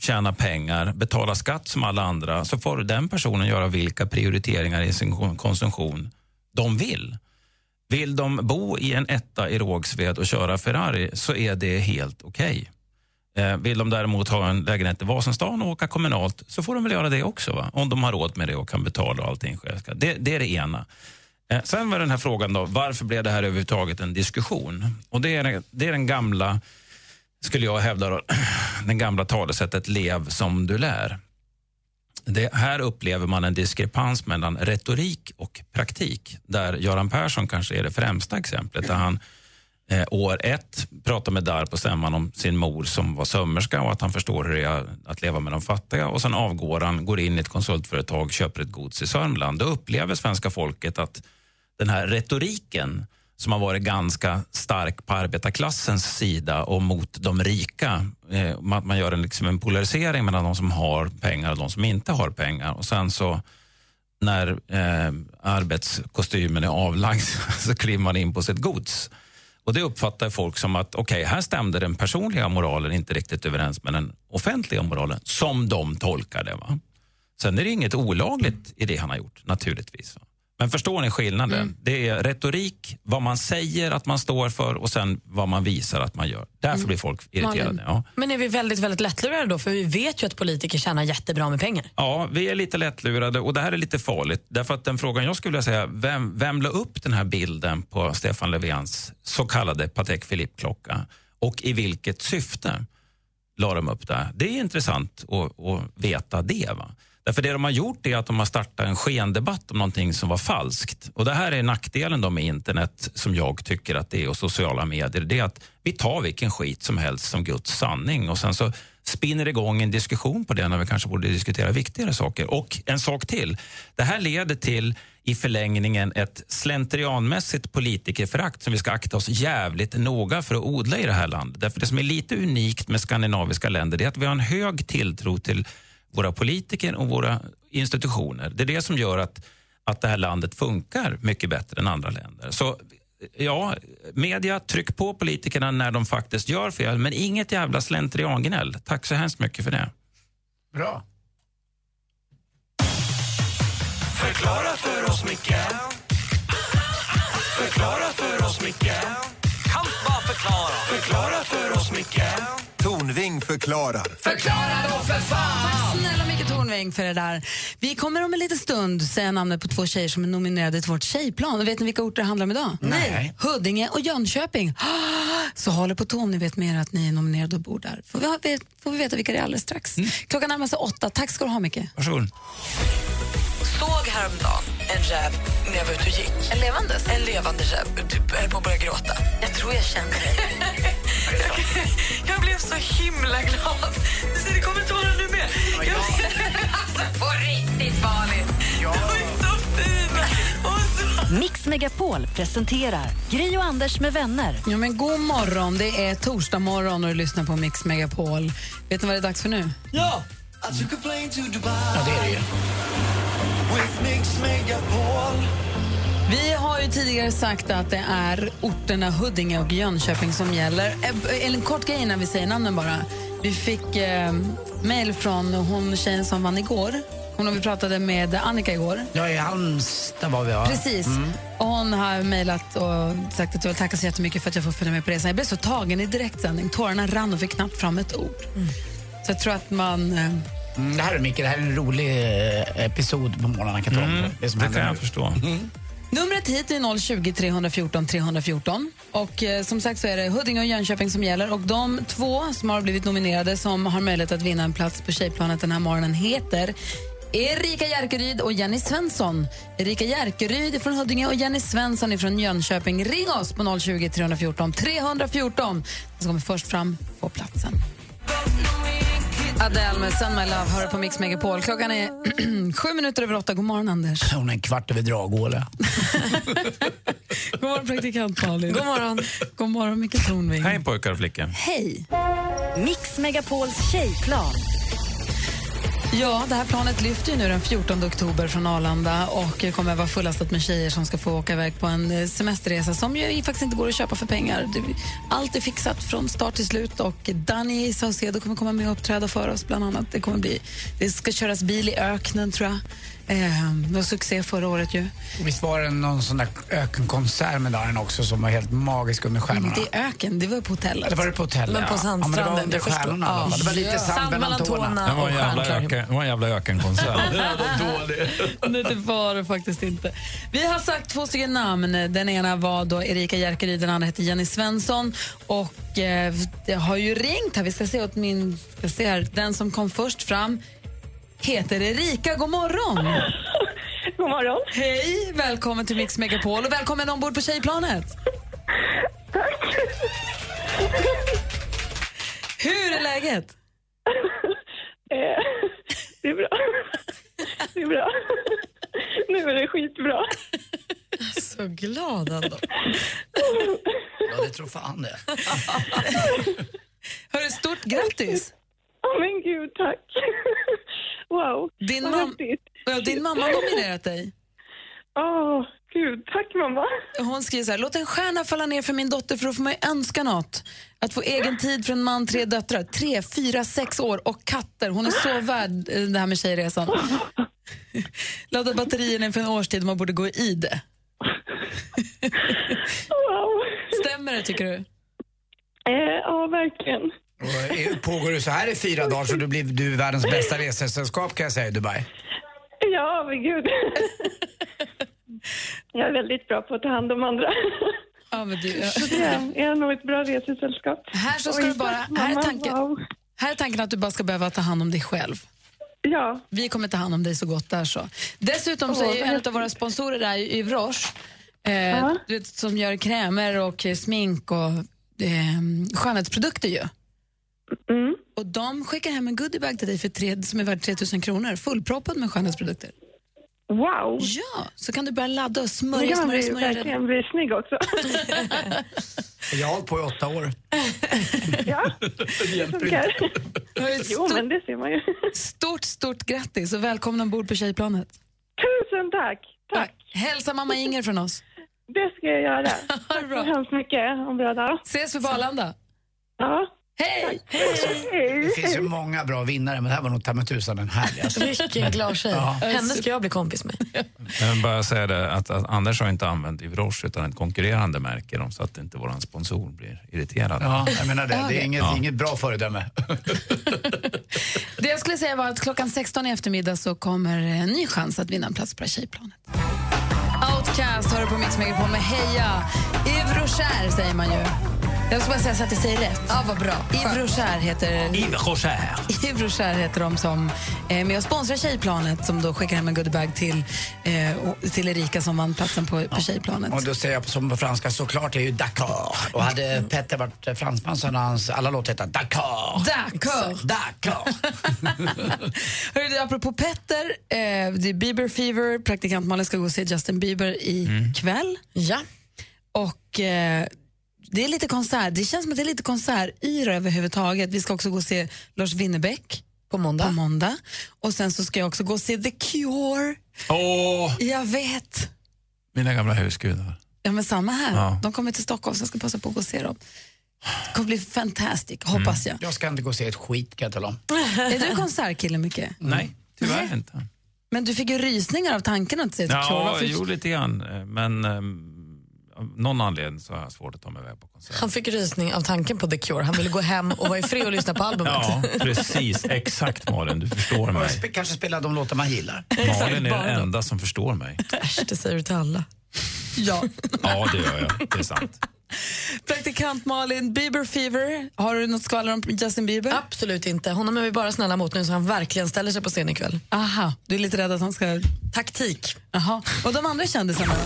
tjänar pengar, betalar skatt som alla andra så får den personen göra vilka prioriteringar i sin kon- konsumtion de vill. Vill de bo i en etta i Rågsved och köra Ferrari så är det helt okej. Eh, Vill de däremot ha en lägenhet i Vasastan och åka kommunalt så får de väl göra det också. Va? Om de har råd med det och kan betala och allting själv. Det, det är det ena. Eh, Sen var den här frågan då, varför blev det här överhuvudtaget en diskussion? Och det är, det är den gamla, skulle jag hävda, då, den gamla talesättet lev som du lär. Det, här upplever man en diskrepans mellan retorik och praktik. Där Göran Persson kanske är det främsta exemplet. Där han eh, år ett pratar med darr på stämman om sin mor som var sömmerska och att han förstår hur det är att leva med de fattiga. Och sen avgår han, går in i ett konsultföretag, köper ett gods i Sörmland. Då upplever svenska folket att den här retoriken som har varit ganska stark på arbetarklassens sida och mot de rika. Eh, man, man gör en, liksom en polarisering mellan de som har pengar och de som inte har pengar. Och sen så när eh, arbetskostymen är avlagd så kliver man in på sitt gods. Och Det uppfattar folk som att okej, här stämde den personliga moralen inte riktigt överens med den offentliga moralen, som de tolkar det. Va? Sen är det inget olagligt i det han har gjort, naturligtvis. va. Men förstår ni skillnaden? Det är retorik, vad man säger att man står för och sen vad man visar att man gör. Därför blir folk
Malin.
irriterade. Ja.
Men är vi väldigt, väldigt lättlurade då? För vi vet ju att politiker tjänar jättebra med pengar.
Ja, vi är lite lättlurade och det här är lite farligt. Därför att den frågan jag skulle vilja säga, vem, vem la upp den här bilden på Stefan Löfvens så kallade Patek Philippe-klocka? Och i vilket syfte la de upp det? Det är intressant att, att veta det. Va? Därför det de har gjort är att de har startat en skendebatt om någonting som var falskt. Och det här är nackdelen då med internet som jag tycker att det är och sociala medier. Det är att vi tar vilken skit som helst som Guds sanning och sen så spinner det igång en diskussion på det när vi kanske borde diskutera viktigare saker. Och en sak till. Det här leder till i förlängningen ett slentrianmässigt politikerförakt som vi ska akta oss jävligt noga för att odla i det här landet. Därför det som är lite unikt med skandinaviska länder det är att vi har en hög tilltro till våra politiker och våra institutioner. Det är det som gör att, att det här landet funkar mycket bättre än andra länder. Så ja, media, tryck på politikerna när de faktiskt gör fel, men inget jävla slentriangnäll. Tack så hemskt mycket för det.
Bra.
Förklara för oss, Micke Förklara för oss, Micke Kan bara förklara Förklara för oss, Micke
Tornving förklarar.
Förklara då för
Tack snälla Micke Tornving för det där. Vi kommer om en liten stund säga namnet på två tjejer som är nominerade till vårt tjejplan. Och Vet ni vilka orter det handlar om idag?
Nej.
Huddinge och Jönköping. Ah, Så håll er på tå om ni vet mer att ni är nominerade och bor där. Får vi, ha- vet- får vi veta vilka det är alldeles strax. Klockan närmar sig åtta. Tack ska du ha Micke.
Varsågod.
Såg häromdagen en räv när jag var ute och gick. En levandes? En levande räv. Typ höll på att börja gråta. Jag tror jag känner
Jag blev så himla glad. Det kommer tårar nu med. Jag... Alltså, på riktigt, Malin. Ja.
Mix Megapol presenterar Gri och Anders med vänner.
Ja, men god morgon, det är torsdag morgon och du lyssnar på Mix Megapol. Vet ni vad det är dags för nu?
Ja! I took a plane to Dubai
Ja, det är det ju.
With Mix Megapol
Vi har ju tidigare sagt att det är orterna Huddinge och Jönköping som gäller. Eh, En kort grej innan vi säger namnen bara. Vi fick eh, mejl från hon tjejen som vann igår. Hon och vi pratade med Annika igår.
Ja, i Halmstad var vi Mm. va?
Precis. Och hon har mejlat och sagt att du vill tacka så jättemycket för att jag får följa med på resan. Jag blev så tagen i direktsändning. Tårarna rann och fick knappt fram ett ord. Så jag tror att man... Eh,
Mm, det här är Micke, det här är en rolig eh, episod på morgonen. Jag Kan ta om
Mm,
det som
det
händer
kan jag
nu.
förstå.
Numret hit är 020 314 314. Och eh, som sagt så är det Huddinge och Jönköping som gäller. Och de två som har blivit nominerade som har möjlighet att vinna en plats på Tjejplanet den här morgonen heter Erika Järkeryd och Jenny Svensson. Erika Järkeryd är från Huddinge och Jenny Svensson är från Jönköping. Ring oss på 020 314 314. Den som kommer först fram får platsen. Adele med Send My Love hör på Mix Megapol. Klockan är sju minuter över åtta. God morgon, Anders.
Hon är en kvart över Dragåla.
God morgon, praktikant Malin.
God morgon.
God morgon, Micke Tornving.
Hej pojkar och flickor.
Hej!
Mix Megapols tjejplan.
Ja, det här planet lyfter ju nu den 14 oktober från Arlanda och kommer att vara fullastat med tjejer som ska få åka iväg på en eh, semesterresa som ju faktiskt inte går att köpa för pengar. Det- Allt är fixat från start till slut och Danny Saucedo kommer komma med och uppträda för oss bland annat. Det, kommer bli, det ska köras bil i öknen tror jag. Eh, det var succé förra året ju.
Visst var det någon sån där ökenkonsert med Darin också som var helt magisk under
Men
stjärnorna?
Inte i öken, det var på hotellet.
Det var det på hotellet, Men på ja. sandstranden, Ja, men det var under jag förstår. stjärnorna i alla fall. Det var lite Ja. sand mellan Sand mellan tårna.
Det var en jävla, öken, det var en jävla ökenkonsert.
Nej, det var det faktiskt inte. Vi har sagt två stycken namn. Den ena var då Erika Jerkeryd, den andra hette Jenny Svensson. Och eh, det har ju ringt här. Vi ska se åt min... Ska se här. Den som kom först fram heter Erika. God morgon!
God morgon.
Hej! Välkommen till Mix Megapol och välkommen ombord på tjejplanet. Tack! Hur är läget?
Eh, det är bra. Det är bra. Nu är det skitbra.
Så glad ändå.
Ja, det tror fan det.
Hörru, stort grattis!
Ja, men gud, tack. Wow,
Din,
vad
mam-
häftigt.
Ja, din mamma har nominerat dig.
Åh, gud. Tack, mamma.
Hon skriver så här, låt en stjärna falla ner för min dotter för då får man ju önska något. Att få egen tid för en man, tre döttrar, tre, fyra, sex år och katter. Hon är så värd eh, det här med tjejresan. Ladda batterierna för en årstid man borde gå i det. Stämmer det tycker du?
Eh, ja, verkligen.
Och eh, pågår du så här i fyra dagar så då blir du världens bästa resesällskap kan jag säga i Dubai.
Ja, men gud. Jag är väldigt bra på att ta hand om andra.
Ja, men du,
Så det är, jag är nog ett bra resesällskap.
Här så ska
Oj,
du bara,
tack,
här är,
mamma.
tanken,
Wow.
här är tanken att du bara ska behöva ta hand om dig själv.
Ja.
Vi kommer ta hand om dig så gott där så. Dessutom så
Åh,
är ju
vad
en
häftigt.
av våra sponsorer där i Roche, eh,
Ja.
du vet, som gör krämer och eh, smink och eh, skönhetsprodukter ju.
Mm.
Och de skickar hem en goodiebag till dig för tre, som är värd 3000 kronor, fullproppad med skönhetsprodukter.
Wow!
Ja, så kan du börja ladda och
Men
smörja,
jag
smörja,
vill
smörja.
verkligen bli snygg också.
Jag har hållit på i åtta år.
Det funkar. Jo, men det ser man ju.
Stort, stort grattis och välkommen ombord på Tjejplanet.
Tusen tack! Tack!
Hälsa mamma Inger från oss.
Det ska jag göra. Tack så hemskt mycket. Ha en bra dag.
Ses vi på Arlanda?
Ja.
Hej!
Det finns ju många bra vinnare men det här var nog ta mig tusan den härligaste.
Vilken glad tjej.
Ja.
Henne ska jag bli kompis med.
Jag vill bara säga det att, att Anders har inte använt Ivroche utan ett konkurrerande märke de, så att inte vår sponsor blir irriterad.
Ja, jag menar det. Det är inget,
Ja.
inget bra föredöme.
Det jag skulle säga var att klockan 16 i eftermiddag så kommer en ny chans att vinna en plats på det här tjejplanet. Outcast hör du på Mix Megapol med Heja! Yves Rocher säger man ju. Jag ska bara säga så att det säger rätt. Ja, vad bra. Yves Rocher heter...
Rocher.
Yves Rocher heter de som är med och sponsrar Tjejplanet som då skickar hem en goodiebag till, eh, och- till Erika som vann platsen på, på Tjejplanet.
Och då säger jag som på franska, såklart det är ju Dakar. Och hade Petter varit fransman så hade hans alla låtar hetat Dakar.
Dakar.
Dakar.
Hörru, du, apropå Petter, eh, det är Bieber Fever. Praktikant Malin ska gå och se Justin Bieber i kväll.
Mm. Ja.
Och eh, det är lite konsert. Det känns som att det är lite konsertyra överhuvudtaget. Vi ska också gå och se Lars Winnerbäck
på måndag.
på måndag. Och sen så ska jag också gå och se The Cure.
Åh,
Jag vet.
mina gamla
Mm.
husgudar.
Ja, men samma här.
Ja.
De kommer till Stockholm så jag ska passa på att gå och se dem. Det kommer bli fantastic,
Mm.
hoppas jag.
Jag ska inte gå och se ett skit kan jag tala om.
Är du konsertkille mycket?
Nej, tyvärr inte.
Men du fick ju rysningar av tanken att se The Cure.
Ja,
Varför-
jo, lite grann. eh, Men um, av någon anledning så har jag svårt att ta mig iväg på konsert.
Han fick rysning av tanken på The Cure. Han ville gå hem och vara i fred och lyssna på albumet.
Ja, precis. Exakt Malin, du förstår mig.
Sp- Kanske spela de låtar man gillar.
Malin är den enda som förstår mig.
Äsch, det säger du till alla.
Ja.
Ja, det gör jag. Det är sant.
Praktikant Malin, Bieber Fever. Har du något skvaller om Justin Bieber?
Absolut inte. Honom är vi bara snälla mot nu så han verkligen ställer sig på scen ikväll.
Aha, du är lite rädd att han ska...
Taktik.
Aha. Och de andra kändisarna då?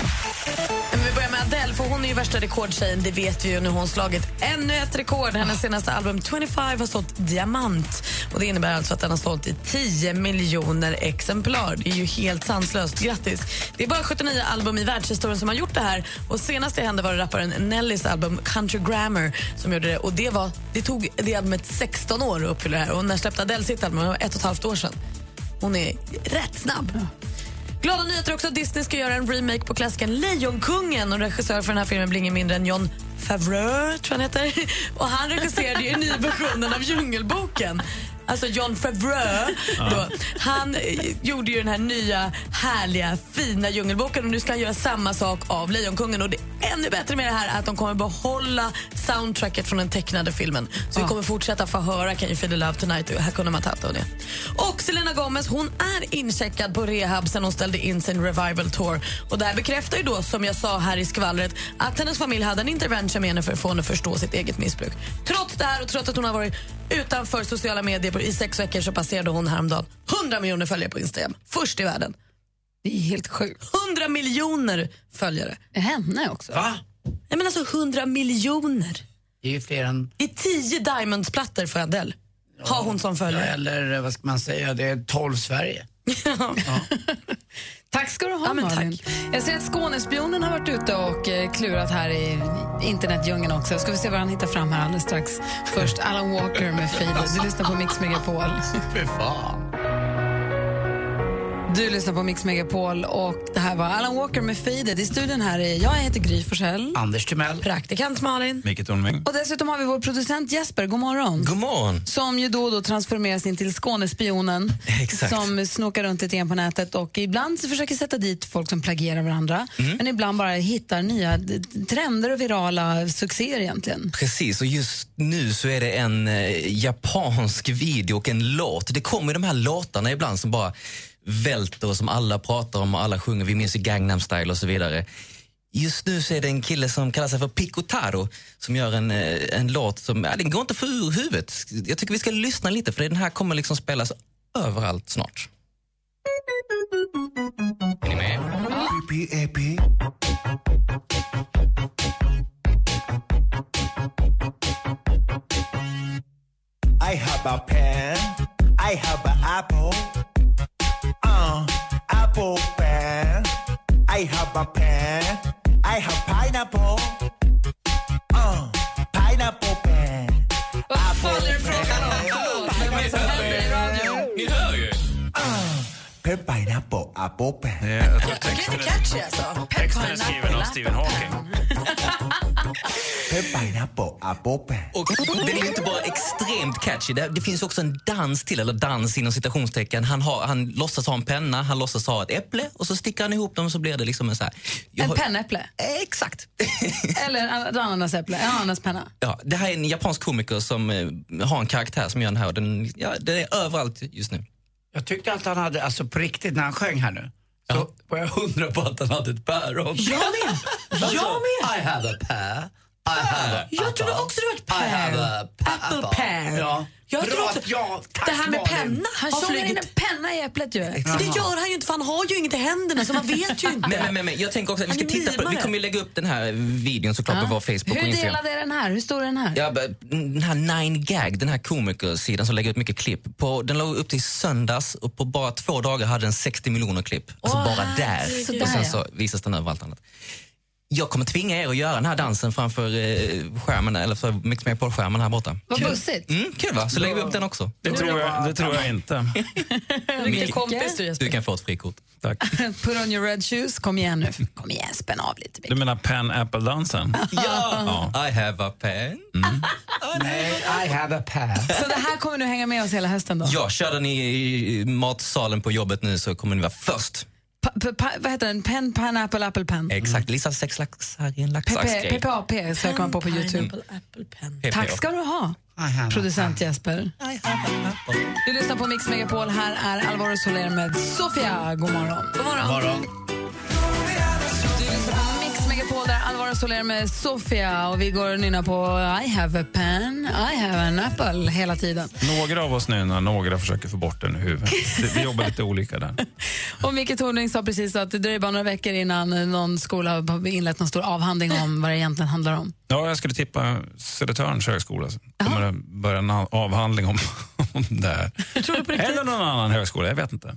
Men vi börjar med Adele, för hon är ju värsta rekordtjejen. Det vet vi ju. Nu har hon slagit ännu ett rekord. Hennes senaste album 25 har sålt diamant. Och Det innebär alltså att den har sålt i 10 miljoner exemplar. Det är ju helt sanslöst. Grattis! Det är bara 79 album i världshistorien som har gjort det här. Och Senast det hände var det rapparen Nellys album Country Grammar som gjorde det. Och Det, var, det tog det albumet 16 år att uppfylla det här. Och när släppte Adele sitt album? Det var ett och ett halvt år sedan. Hon är rätt snabb. Glada nyheter också. Disney ska göra en remake på klassikern Lejonkungen. Och regissör för den här filmen blir ingen mindre än John Favreau, tror jag han heter. Och han regisserade ju nyversionen av Djungelboken. Alltså John Favreau. Då. Han eh, gjorde ju den här nya, härliga, fina Djungelboken och nu ska han göra samma sak av Lejonkungen. Och det ännu bättre med det här är att de kommer behålla soundtracket från den tecknade filmen. Så vi kommer fortsätta få höra Can you feel the love tonight? Och Här kunde man tappa det. Och Selena Gomez hon är incheckad på rehab sen hon ställde in sin revival tour. Och Det här bekräftar ju då, som jag sa här i skvallret, att hennes familj hade en intervention med henne för att få henne att förstå sitt eget missbruk. Trots det här och trots att hon har varit utanför sociala medier på- i sex veckor så passerade hon häromdagen 100 miljoner följare på Instagram. Först i världen.
Det är helt sjukt.
100 miljoner följare.
Henne också?
Va? Nej, men alltså 100 miljoner.
Det är ju fler än...
I tio diamondsplattor för Adele har hon som
Ja,
följare.
eller eh, vad ska man säga, det är 12 Sverige.
Tack ska du ha, Malin. Jag ser att Skånespionen har varit ute och eh, klurat här i internetdjungeln också. Ska vi se vad han hittar fram här alldeles strax. Först Alan Walker med Faded. Du lyssnar på Mix Megapol.
Fy fan.
Du lyssnar på Mix Megapol och det här var Alan Walker med Faded. I studion här är jag, jag heter Gry Forssell.
Anders Timell.
Praktikant Malin.
Micke Tornving.
Och dessutom har vi vår producent Jesper, god morgon.
God morgon.
Som ju då och då transformeras in till Skånespionen.
Exakt.
Som snokar runt lite grann på nätet och ibland så försöker sätta dit folk som plagierar varandra.
Mm.
Men ibland bara hittar nya d- trender och virala succéer egentligen.
Precis, och just nu så är det en eh, japansk video och en låt. Det kommer ju de här låtarna ibland som bara välter och som alla pratar om och alla sjunger. Vi minns ju Gangnam style och så vidare. Just nu så är det en kille som kallar sig för Pico Taro som gör en, eh, en låt som ja, den går inte för ur huvudet. Jag tycker vi ska lyssna lite för den här kommer liksom spelas överallt snart. Är ni med?
I have a pen. I have an apple. Uh, apple pen. I have a pen. I have pineapple. Uh, pineapple pen.
Vad fan är det frågan om? Förlåt, men vad är det som händer i radion?
Ni
hör ju!
Uh, pen, pineapple, apple pen.
jag tror
texten
är-
Catchy alltså.
Texten är skriven av Stephen Hawking.
Pen, pineapple, apple pen.
Och den är ju inte bara extremt catchy. Det, det finns också en dans till, eller dans inom citationstecken. Han, har, han låtsas ha en penna, han låtsas ha ett äpple och så stickar han ihop dem så blir det liksom en så här... Jag
En
har-
pennäpple?
Exakt.
Eller ett ananasäpple, en ananaspenna.
Ja, det här är en japansk komiker som eh, har en karaktär som gör den här och den, ja, det är överallt just nu.
Jag tyckte att han hade, alltså på riktigt när han sjöng här nu, så var jag hundra på att han hade ett päron.
Jag
med!
Jag med.
I have a pear. I have a
Jag trodde också det var ett
pear. I have a
Apple pear.
Ja.
Jag
Bra
tror också-
att jag, tack
det här med
Malin.
penna
Han
har
tjongar in
flugit.
en penna i äpplet ju.
Det gör han ju inte för han har ju inget i händerna så man vet ju inte.
Men, men, men, men jag tänker också att vi ska
Han är
titta på, vi
mimare.
kommer ju lägga upp den här videon såklart på vår Facebook och
Hur
Instagram.
delad är den här? Hur stor är den här?
Ja, b- den här Nine Gag, den här komikersidan som lägger ut mycket klipp. På, den låg upp till söndags och på bara två dagar hade den 60 miljoner klipp. Alltså
Åh,
bara
herregud.
där. Och sen
Sådär,
så visas den överallt annat. Jag kommer tvinga er att göra den här dansen framför eh, skärmen, eller för Mix Megapol-skärmen här borta.
Vad bussigt.
Mm, kul va? Så lägger vi upp den också.
Det tror jag, det tror jag inte.
Vilken kompis du är.
Du kan få ett frikort.
Tack.
Put on your red shoes. Kom igen nu. Kom igen, spänn av lite.
Du menar Pan-Apple-dansen?
Ja. I have a pen.
Nej, I have a pear.
Så det här kommer du hänga med oss hela hösten då?
Ja, kör den i, i matsalen på jobbet nu så kommer ni vara först.
Pa, pa, pa, vad heter den? Pen, pineapple, apple pen.
Exakt, Lisa sex laxar i en
PP,
laxaxgrej.
PPAP söker man på på Youtube. Tack ska du ha, producent Jesper. Du lyssnar på Mix Megapol. Här är Alvaro Soler med Sofia. God morgon. God
morgon.
Du lyssnar på Mix Megapol där Alvaro Soler med Sofia och vi går och nynnar på I have a pen, I have an apple hela tiden.
Några av oss nynnar, några försöker få bort den i huvudet. Det- Vi jobbar lite olika där.
Och Micke Tornving sa precis att det dröjer bara några veckor innan någon skola har inlett någon stor avhandling om vad det egentligen handlar om.
Ja, jag skulle tippa Södertörns högskola. Så kommer det börja en avhandling om, om det här. Eller någon annan högskola, jag vet inte.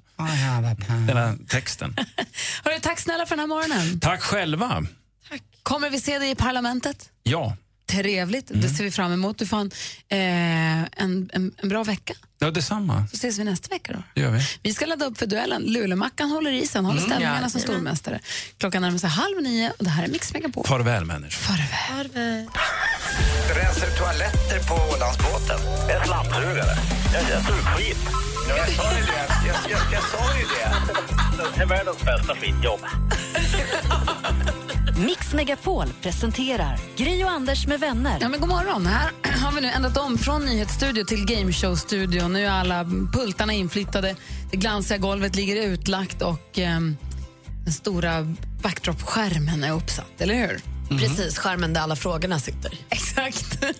Den här texten.
Hörru, tack snälla för den här morgonen.
Tack själva.
Kommer vi se dig i parlamentet?
Ja.
Trevligt, det ser vi fram emot. Du får en, eh, en, en, en bra vecka.
Ja, detsamma.
Så ses vi nästa vecka då.
Det gör vi.
Vi ska ladda upp för duellen. Lulemackan håller i sig, han håller
Mm,
ställningarna
ja.
som stormästare. Klockan närmar sig halv nio och det här är Mix Megapol.
Farväl människor.
Farväl.
Rensar toaletter på Ålandsbåten? En slamsugare. Jag är sugskit. Ja, jag sa ju det. Jag, jag, jag sa ju det. Det är världens bästa skitjobb.
Mix Megapol presenterar Gri och Anders med vänner.
Ja, men god morgon. Här har vi nu ändrat om från nyhetsstudio till gameshow-studio. Nu är alla pultarna inflyttade, det glansiga golvet ligger utlagt och ehm, den stora backdrop-skärmen är uppsatt, eller hur?
Mm-hmm.
Precis, skärmen där alla frågorna sitter.
Exakt.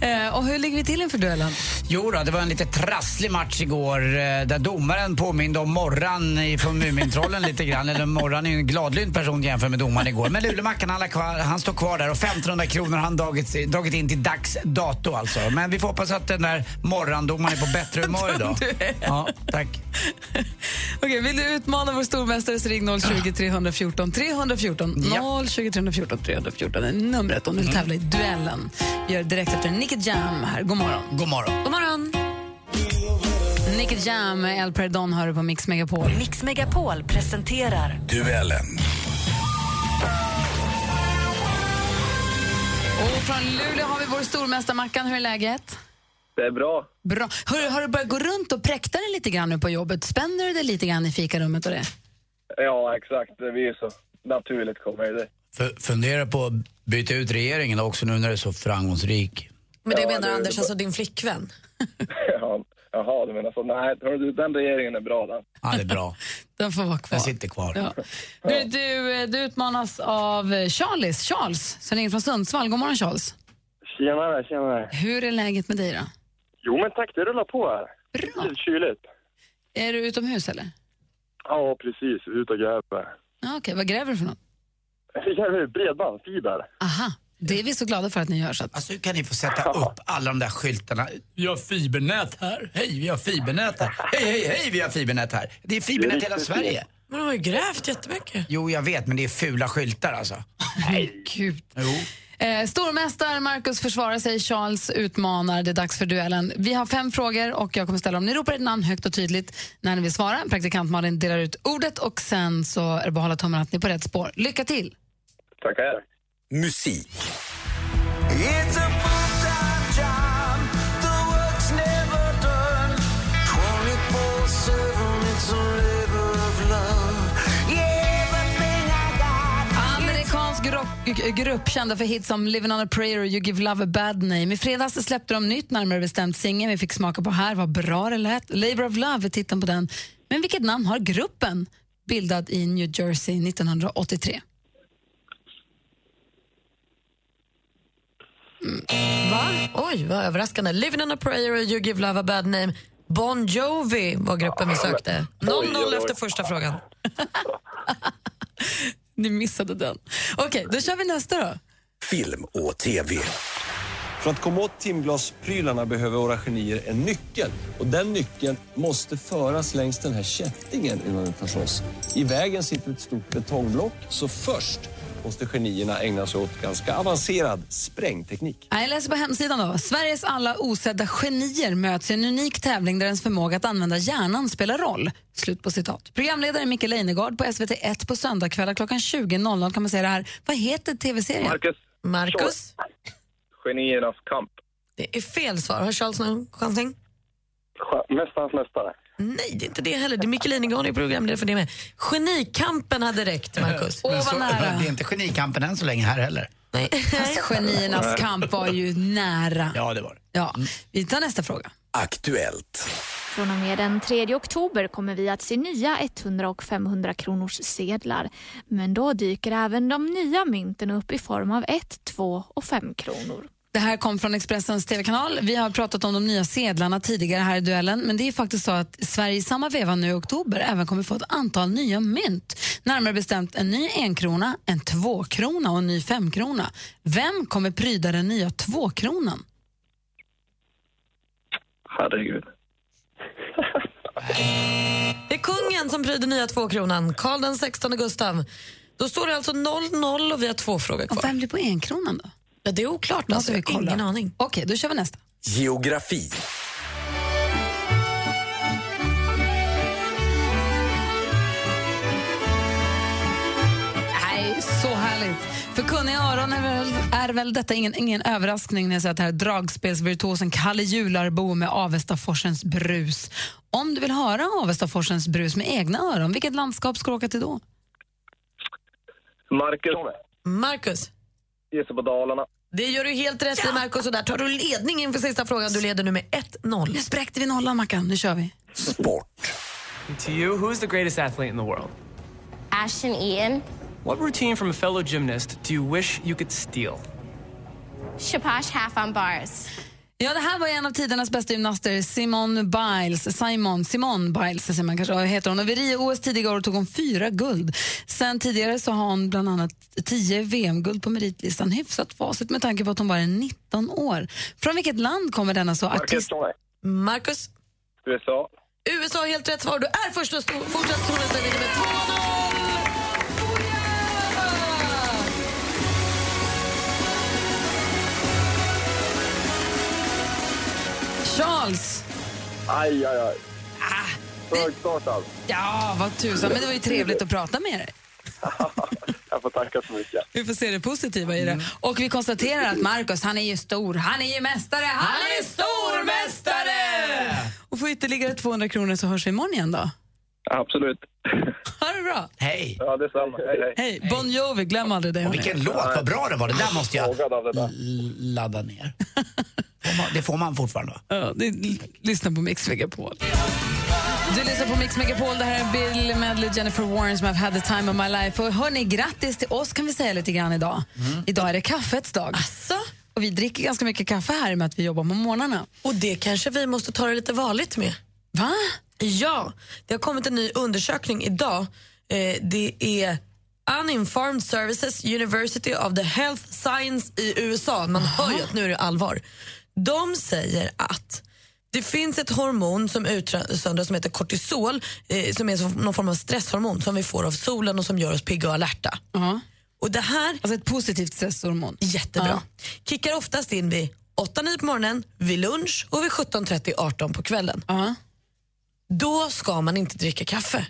Eh, och hur ligger vi till inför duellen?
Jo då, det var en lite trasslig match igår eh, där domaren påminde om Morran från Mumintrollen lite grann. Eller Morran är ju en gladlynt person jämfört med domaren igår. Men Lulemackan han, la kvar- han står kvar där och 1500 kronor har han dragit, dragit in till dags dato alltså. Men vi får hoppas att den där Morran-domaren är på bättre humör idag.
Du är.
Ja, tack.
Okej, vill du utmana vår stormästare så ring 020 314 314. 020 314 314 är numret om du vill
Mm.
tävla i duellen. Vi gör det direkt efter Nicky Jam här. God morgon.
God morgon.
God morgon. Nicky Jam med El Perdon hör du på Mix Megapol.
Mix Megapol presenterar
Duellen.
Och från Luleå har vi vår stormästare Mackan. Hur är läget?
Det är bra.
Bra. Hör, har du börjat gå runt och präkta dig lite grann nu på jobbet? Spänner du dig lite grann i fikarummet och det?
Ja, exakt. Det blir ju så. Naturligt kommer det.
F- fundera på att byta ut regeringen också nu när du är så framgångsrik.
Men det
Jag
Ja,
menar
det är
Anders,
bara-
alltså din flickvän.
Ja, Jaha, du menar så. Nej, hör du, den regeringen är bra den.
Ja, det är bra.
Den får vara kvar.
Den sitter kvar.
Ja. Du, du, eh, du utmanas av eh, Charles, Charles som ringer från Sundsvall. God morgon, Charles.
Tjenare, tjenare.
Hur är läget med dig? då?
Jo, men tack. Det rullar på här. Bra. Lite kyligt.
Är du utomhus? eller?
Ja, precis. Ut och gräver.
Ja, Okej, Vad gräver du för något?
Gräver bredband, fiber.
Aha, det är vi så glada för att ni gör. Så att...
Alltså hur kan ni få sätta upp alla de där skyltarna? Vi har fibernät här. Hej, vi har fibernät här. Hej, hej, hej, vi har fibernät här. Det är fibernät i hela Sverige.
Men de har ju grävt jättemycket.
Jo, jag vet, men det är fula skyltar alltså.
Nej. Gud.
Jo.
Eh, stormästare Marcus försvarar sig, Charles utmanar. Det är dags för duellen. Vi har fem frågor och jag kommer ställa dem. Ni ropar ett namn högt och tydligt när ni vill svara. Praktikant Malin delar ut ordet och sen så är det bara att hålla tummarna att ni är på rätt spår. Lycka till!
Tackar.
Musik.
It's a full-time job. The work's never done. 24-7, it's a labor of love. Yeah, everything I
Amerikansk rock- g- grupp kända för hits som Living on a prayer och You give love a bad name. I fredags släppte de nytt, närmare bestämt singeln vi fick smaka på här. Vad bra det lät. Labour of love är titeln på den. Men vilket namn har gruppen? Bildad i New Jersey 1983.
Va? Oj, vad överraskande. Living on a prayer och you give love a bad name. Bon Jovi var gruppen vi sökte. 0-0 efter första frågan.
Ni missade den. Okej, då kör vi nästa då.
Film och TV.
För att komma åt timglasprylarna behöver våra genier en nyckel. Och den nyckeln måste föras längs den här kättingen innan den förs loss. I vägen sitter ett stort betongblock, så först måste genierna ägna sig åt ganska avancerad sprängteknik.
Nej, Jag läser på hemsidan då. Sveriges alla osedda genier möts i en unik tävling där ens förmåga att använda hjärnan spelar roll. Slut på citat. Programledare Micke Leijnegard på SVT1 på söndagkvällar klockan 20.00 kan man säga det här. Vad heter tv-serien?
Marcus.
Marcus.
Geniernas kamp.
Det är fel svar. Har Charles någon chansning?
Sk- Mästarnas mästare.
Nej, det är inte det heller. Det är Micke Linegran i programledare för det med. Genikampen hade räckt, Marcus.
Men så- Det är inte genikampen än så länge här heller.
Nej.
Fast geniernas kamp var ju nära.
Ja, det Mm. var
Ja. Vi tar nästa fråga.
Aktuellt.
Från och med den 3 oktober kommer vi att se nya 100 och 500 kronors sedlar. Men då dyker även de nya mynten upp i form av 1, 2 och 5 kronor.
Det här kom från Expressens TV-kanal. Vi har pratat om de nya sedlarna tidigare här i duellen men det är faktiskt så att Sverige i samma veva nu i oktober även kommer få ett antal nya mynt. Närmare bestämt en ny enkrona, en tvåkrona och en ny femkrona. Vem kommer pryda den nya tvåkronan?
Herregud.
Det är kungen som pryder nya tvåkronan, Karl den 16 Gustav. Då står det alltså 0-0 och vi har två frågor kvar.
Och vem blir på enkronan då?
Ja, det är oklart.
Måste
Alltså.
vi
Jag har
kolla.
ingen aning.
Okej, då kör vi nästa.
Geografi.
Nej, så härligt. För kunniga öron är väl, är väl detta ingen, ingen överraskning när jag säger att det här är dragspelsvirtuosen Kalle Jularbo med Avestaforsens brus. Om du vill höra Avestaforsens brus med egna öron, vilket landskap ska du åka till då?
Marcus,
Marcus,
gissa på Dalarna.
det gör du helt rätt i Marcus och där tar du ledning inför sista frågan. Du leder nu med 1-0.
Nu spräckte vi nollan, Mackan. Nu kör vi.
Sport.
To you, who's the greatest athlete in the world?
Ashton Ian,
What routine from a fellow gymnast do you wish you could steal?
Shapash half on bars.
Ja, det här var en av tidernas bästa gymnaster, Simon Biles. Simon, Simon Biles säger man kanske, heter hon. Och vid Rio-OS tidigare år tog hon fyra guld. Sen tidigare så har hon bland annat tio VM-guld på meritlistan. Hyfsat facit med tanke på att hon bara är 19 år. Från vilket land kommer denna så artist...
Marcus?
USA.
USA har helt rätt svar. Du är först och sto- fortsatt stormästare med 2-0!
Charles! Ah,
Aj, aj, aj. Högstartad.
Ja, vad tusan, men det var ju trevligt att prata med dig.
Jag får tacka så mycket.
Vi får se det positiva i det. Och vi konstaterar att Marcus, han är ju stor. Han är ju mästare. Han är stormästare! Och får ytterligare 200 kronor så hörs vi imorgon igen då.
Absolut.
Ha det bra.
Hej!
Ja, detsamma. Hej, hej.
Hej, Bon Jovi, glöm aldrig det.
Och vilken
Mm.
låt, vad bra den var. Det där måste jag l- ladda ner. Får man- Det får man fortfarande va?
Ja, det, l- lyssna på Mix Megapol. Du lyssnar på Mix Megapol. Det här är Bill Medley, Jennifer Warren som har had the time of my life. Och hörni, grattis till oss kan vi säga lite grann idag.
Mm.
Idag är det kaffets dag. Och vi dricker ganska mycket kaffe här i och med att vi jobbar på morgnarna.
Och det kanske vi måste ta det lite varligt med.
Va?
Ja, det har kommit en ny undersökning idag. Eh, det är Uninformed Services University of the Health Science i USA. Man hör ju att nu är det allvar. De säger att det finns ett hormon som utsöndras som heter kortisol eh, som är som någon form av stresshormon som vi får av solen och som gör oss pigga och alerta. Och det här...
Alltså ett positivt stresshormon.
Jättebra. Kickar oftast in vid 8-9 på morgonen, vid lunch och vid 17.30-18 på kvällen. Då ska man inte dricka kaffe.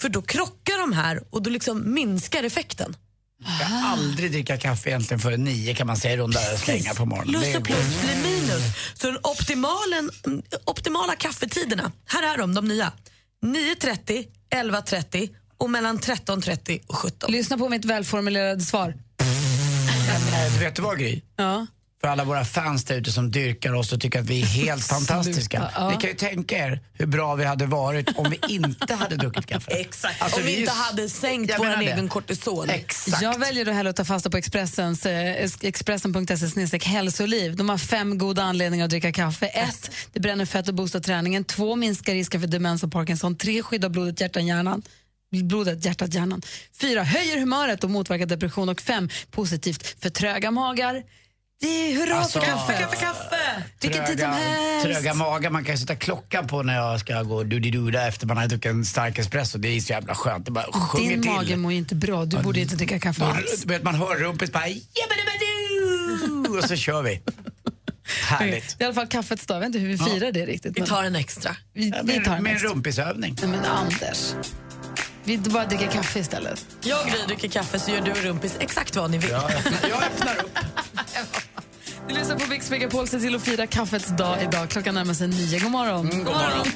För då krockar de här och då liksom minskar effekten.
Jag
Ah.
kan aldrig dricka kaffe egentligen före nio kan man säga i runda slängar på morgonen.
Plus
Det är-
och plus blir minus. Så den optimalen, mm, optimala kaffetiderna, här är de, de nya. 9.30, 11.30 och mellan 13.30 och 17.
Lyssna på mitt välformulerade svar.
Eh, Vet du vad Gry?
Ja.
För alla våra fans där ute som dyrkar oss och tycker att vi är helt fantastiska.
ja.
Ni kan ju tänka er hur bra vi hade varit om vi inte hade druckit kaffe. Exakt. Alltså,
Om vi inte hade sänkt vår egen kortisol.
Exakt.
Jag väljer då hellre att ta fasta på Expressens, eh, es- Expressen.se snedstreck E hälsoliv. De har fem goda anledningar att dricka kaffe. Ett, Det bränner fett och boostar träningen. Två, Minskar risken för demens och Parkinson. Tre, Skyddar blodet, hjärtan, hjärnan. Blodet, hjärtat, hjärnan. Fyra, Höjer humöret och motverkar depression. Och fem, Positivt för tröga magar. Det är hurra
Alltså,
för kaffe!
kaffe,
kaffe!
Vilken tid som helst!
Tröga magar, man kan ju sätta klockan på när jag ska gå dudiduda efter man har druckit en stark espresso. Det är så jävla skönt, det bara sjunger
Din
till.
mage mår ju inte bra. Du borde inte dricka kaffe
Då-
alls.
du vet, man hör rumpis bara "Jabbadabadoo!" och så kör vi. Härligt.
Det är i alla fall kaffets dag. Jag vet inte hur vi firar det riktigt.
Vi
men-
tar en extra.
Vi, vi tar en
Med en
extra.
rumpisövning.
Nej, men Anders. Vi bara dricker kaffe istället.
Jag och Gry dricker kaffe så gör du och Rumpis exakt vad ni vill.
Du lyssnar på Mix Megapol. Se till att fira kaffets dag idag. Klockan närmar sig nio. God morgon.
god morgon.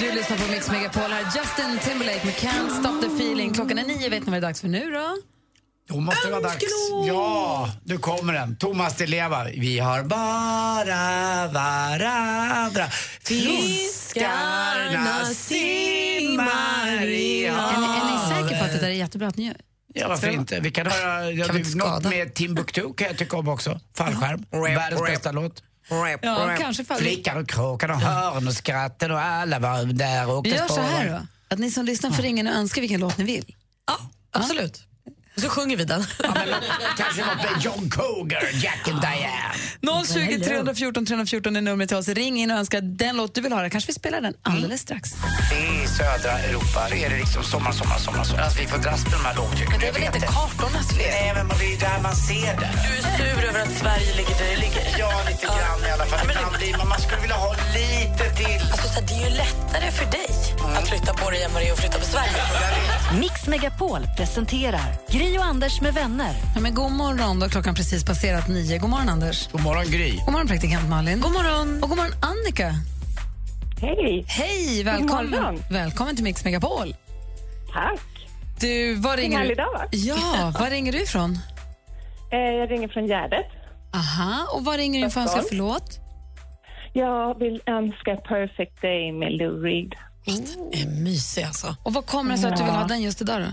Du lyssnar på Mix Megapol. Här är Justin Timberlake med Can't Stop The Feeling. Klockan är nio. Vet ni vad det är dags för nu då?
Då måste det vara dags. Ja, nu kommer den. Thomas Di Leva. Vi har bara varandra. Fiskarna simmar i
Är, är ni säkra på att det där är jättebra att ni gör?
Ja, varför inte? Vi kan höra ja, du, något med Timbuktu kan jag tycka om också. Fallskärm. Världens bästa låt.
Ja, kanske fall-
Flickan och kråkan och hörn och skratten och alla var där och
Vi
åkte
gör så här
spårvagn.
då, att ni som lyssnar får ringa in och önska vilken låt ni vill. Ja,
absolut. Så sjunger vi den.
Kanske något med John Cougar, Jack and Diane.
020 314 314 är numret till oss. Ring in och önska den låt du vill höra. Kanske vi spelar den alldeles strax.
I södra Europa är det liksom sommar, sommar, sommar. sommar. Alltså, vi får dras med de här lågtrycken. Men det är väl inte kartornas fel? Nej, men det är ju där man ser det.
Du är sur över att Sverige ligger där det ligger.
Ja, lite grann i alla fall. Ibland blir man, man skulle vilja ha lite till. Mm.
Alltså, så här, det är ju lättare för dig att flytta på dig än vad det är att flytta på Sverige.
Mix Megapol presenterar Gry och Anders med vänner.
Ja, men god morgon, då klockan precis passerat nio. God morgon, Anders.
God morgon, Gry.
God morgon, praktikant Malin. God morgon. Och god morgon, Annika.
Hej.
Hej,
God
välkommen.
morgon.
Välkommen till Mix Megapol.
Tack.
Du,
Vilken
var ringer du?
härlig dag, va?
Ja, var ringer du ifrån?
Eh, jag ringer från Gärdet.
Aha, och vad ringer du för att önska
Stockholm.
för låt?
Jag vill önska Perfect Day med Lou Reed.
Det är mysig alltså.
Och vad kommer det sig att du vill
Ja.
ha den just idag då?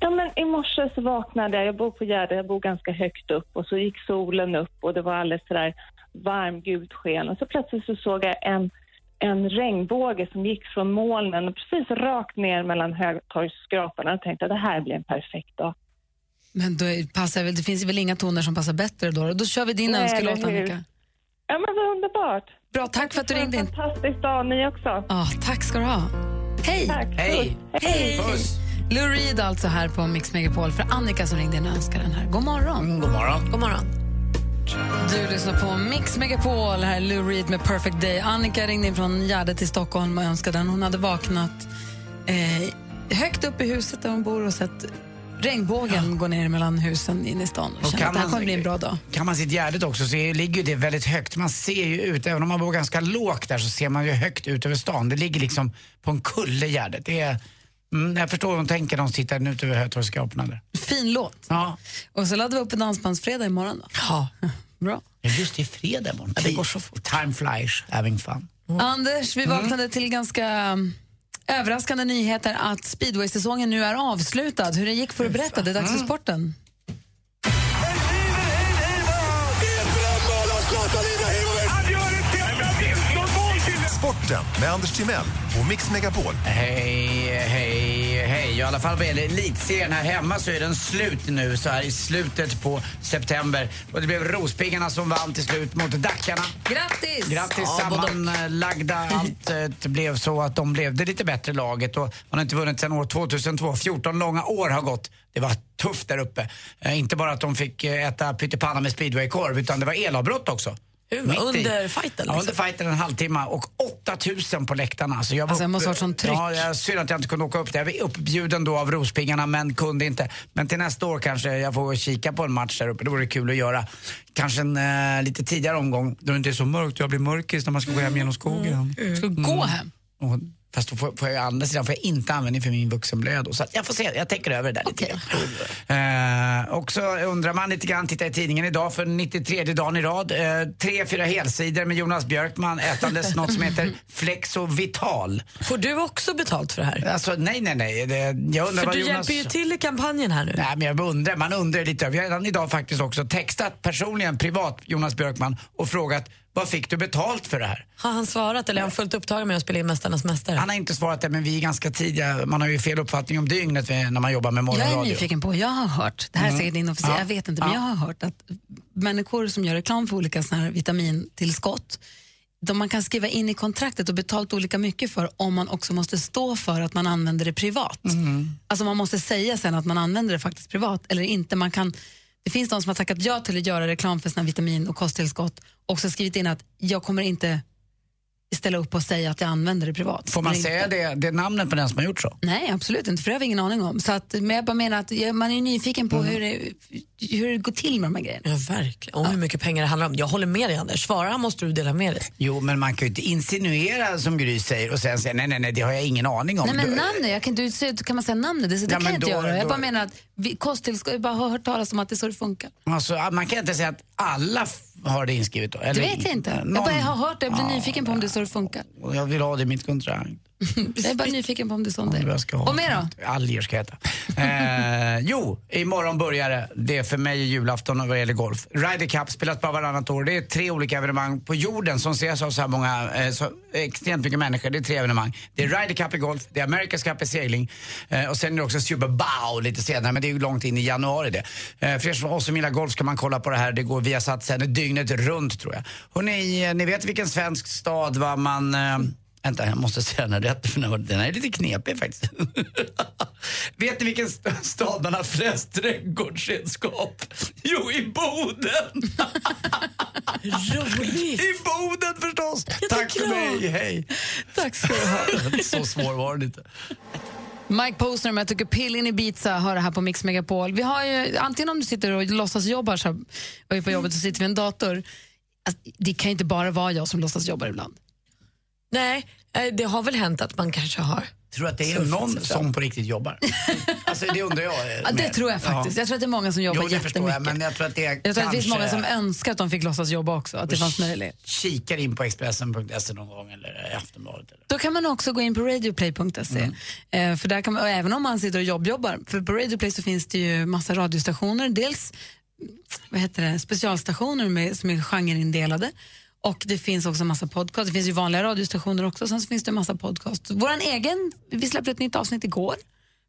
Ja, men I morse så vaknade jag. Jag bor på Gärdet, jag bor ganska högt upp. Och så gick solen upp och det var alldeles sådär varmgult sken. Och så plötsligt så såg jag en, en regnbåge som gick från molnen och precis rakt ner mellan Högtorgsskraporna. Och tänkte att det här blir en perfekt dag.
Men då är- passar väl, det finns väl inga toner som passar bättre då. Då kör vi din
Nej,
önskelåt,
eller hur?
Annika.
Ja, men vad underbart.
Bra, tack för att du ringde in.
Fantastisk dag ni också.
Ja, tack ska du ha. Hej!
Hej!
Hej! Lou Reed alltså här på Mix Megapol för Annika som ringde in och önskade den här. God morgon!
Mm, god morgon!
God morgon! Du lyssnar på Mix Megapol, här är Lou Reed med Perfect Day. Annika ringde in från Gärdet till Stockholm och önskade den. Hon hade vaknat eh, högt upp i huset där hon bor och sett regnbågen gå ner mellan husen inne i stan. Och
Och
kände
kan
att det här
man-
kommer bli en bra dag.
Kan man sitt Gärdet också så är, ligger ju det väldigt högt. Man ser ju ut, även om man bor ganska lågt där så ser man ju högt ut över stan. Det ligger liksom på en kulle Gärdet. Det är, mm, jag förstår hur de tänker när de sitter ute över Hötorgsskraporna. där.
Fin låt.
Ja.
Och så laddar vi upp en dansbandsfredag imorgon då.
Ja.
Bra.
Just det, är fredag imorgon. Det går så fort. Time flies, having fun.
Mm. Anders, vi vaknade till ganska mm, överraskande nyheter att speedway-säsongen nu är avslutad. Hur det gick får du berätta, det är
Mm.
dags för sporten.
Sporten med Anders Timell och Mix Megapol.
Hej, hej, hej. Ja, I alla fall vad gäller elitserien här hemma så är den slut nu så här i slutet på september. Och det blev Rospiggarna som vann till slut mot Dackarna.
Grattis!
Grattis sammanlagda. Allt eh, det blev så att de blev det lite bättre laget och man har inte vunnit sedan år 2002. 14 långa år har gått. Det var tufft där uppe. Eh, Inte bara att de fick eh, äta pyttipanna med speedwaykorv utan det var elavbrott också. Mitt i.
under fighten
Ja,
liksom.
under fighten en halvtimme och 8000 på läktarna. Alltså jag var
Alltså, det måste
uppe-
varit sånt tryck.
Ja, jag, synd att jag inte kunde åka upp där. Jag var uppbjuden då av Rospingarna men kunde inte. Men till nästa år kanske jag får kika på en match där uppe. Det vore kul att göra. Kanske en eh, lite tidigare omgång då det inte är så mörkt och jag blir mörkis när man ska gå hem genom skogen.
Mm.
Mm.
Ska du gå hem?
Och, fast då får, får jag å andra sidan får jag inte användning för min vuxenblöja då. Så att jag får se, jag tänker över det där lite grann. Eh, och så undrar man lite grann, tittar i tidningen idag för 93 dagen i rad. Eh, tre, fyra helsidor med Jonas Björkman ätandes något som heter Flexovital.
Får du också betalt för det här?
Alltså nej, nej, nej. Det, jag undrar
För
vad
du
Jonas...
hjälper ju till i kampanjen här nu.
Nej, men jag undrar, man undrar lite. Vi har redan idag faktiskt också textat personligen, privat, Jonas Björkman och frågat vad fick du betalt för det här?
Har han svarat eller är han fullt upptagen med att spela in Mästarnas mästare?
Han har inte svarat det, men vi är ganska tidiga. Man har ju fel uppfattning om dygnet eh, när man jobbar med
Jag
morgonradio.
är nyfiken på, jag har hört, det här är
Mm.
säkert inofficiellt,
Ja.
jag vet inte, men
Ja.
jag har hört att människor som gör reklam för olika såna här vitamintillskott, de man kan skriva in i kontraktet och betalt olika mycket för om man också måste stå för att man använder det privat.
Mm.
Alltså man måste säga sen att man använder det faktiskt privat eller inte. Man kan, det finns de som har tackat ja till att göra reklam för sina vitamin och kosttillskott och också skrivit in att jag kommer inte ställa upp och säga att jag använder det privat.
Får man
Ring-
säga det, det namnet på den som har gjort så?
Nej, absolut inte, för det har vi ingen aning om. Så att, men jag bara menar att jag- man är ju nyfiken
Mm.
på hur, det, hur det går till med de här grejerna.
Ja, verkligen. Och hur mycket pengar det handlar om. Jag håller med dig Anders. Svara måste du dela med dig.
Jo, men man kan ju inte insinuera som Gry säger och sen säga nej, nej, nej, det har jag ingen aning om.
Nej men
Då-
namnet, jag kan, du, säger- kan man säga namnet? Det, det
Ja,
kan
men
jag inte
då-
göra. Jag
då-
bara menar att vi, kosttillskott, jag bara har hört talas om att det är så det funkar.
Alltså, man kan inte säga att alla f- har det inskrivet då?
det
eller-
vet jag inte.
Någon-
Jag bara har hört det, jag blir nyfiken på om det är så det funkar.
Och Jag vill ha det i mitt kontrakt.
jag är bara nyfiken på om det är sånt det
Undrar vad
är.
jag ska ha.
Och mer då?
Alger ska jag heta. eh, jo, imorgon börjar det. Det är för mig julafton och vad gäller golf. Ryder Cup spelas bara varannat år. Det är tre olika evenemang på jorden som ses av så här många, eh, så extremt mycket människor. Det är tre evenemang. Det är Ryder Cup i golf, det är America's Cup i segling eh, och sen är det också Super Bowl lite senare, men det är ju långt in i januari det. Eh, för er som oss som gillar golf ska man kolla på det här. Det går via sen dygnet runt tror jag. Hörrni, eh, ni vet vilken svensk stad va, man... Eh, vänta, jag måste säga den här rätt för nu- den här är lite knepig faktiskt. Vet ni vilken st- stad man har flest trädgårdsredskap? Jo, i Boden! Roligt! I Boden förstås! Tack för mig, hej!
Tack ska du ha.
Så svår var den inte.
Mike Posner med Took a pill in Ibiza hör det här på Mix Megapol. Vi har ju, antingen om du sitter och låtsas jobbar så här, och är på jobbet så sitter vi i en dator. Alltså, det kan ju inte bara vara jag som låtsas jobbar ibland.
Nej, eh, det har väl hänt att man kanske har.
Tror du att det är
Surfat
någon
sig
som på riktigt jobbar? Alltså, det undrar jag. eh,
Ja, det
med.
tror jag faktiskt.
Ja.
Jag tror att det är många som jobbar
jo, det förstår
jättemycket.
jag, men jag tror att det är
Jag tror att det finns många
kanske-
som önskar att de fick låtsas jobba också, att det fanns möjlighet.
Kikar in på Expressen.se någon gång eller i Aftonbladet. Eller.
Då kan man också gå in på radioplay.se. Eh, för där kan man, och även om man sitter och jobbjobbar, för på radioplay så finns det ju massa radiostationer. Dels vad heter det, specialstationer med, som är genreindelade och det finns också massa podcast. Det finns ju vanliga radiostationer också, sen så finns det massa podcast. Vår egen, vi släppte ett nytt avsnitt igår.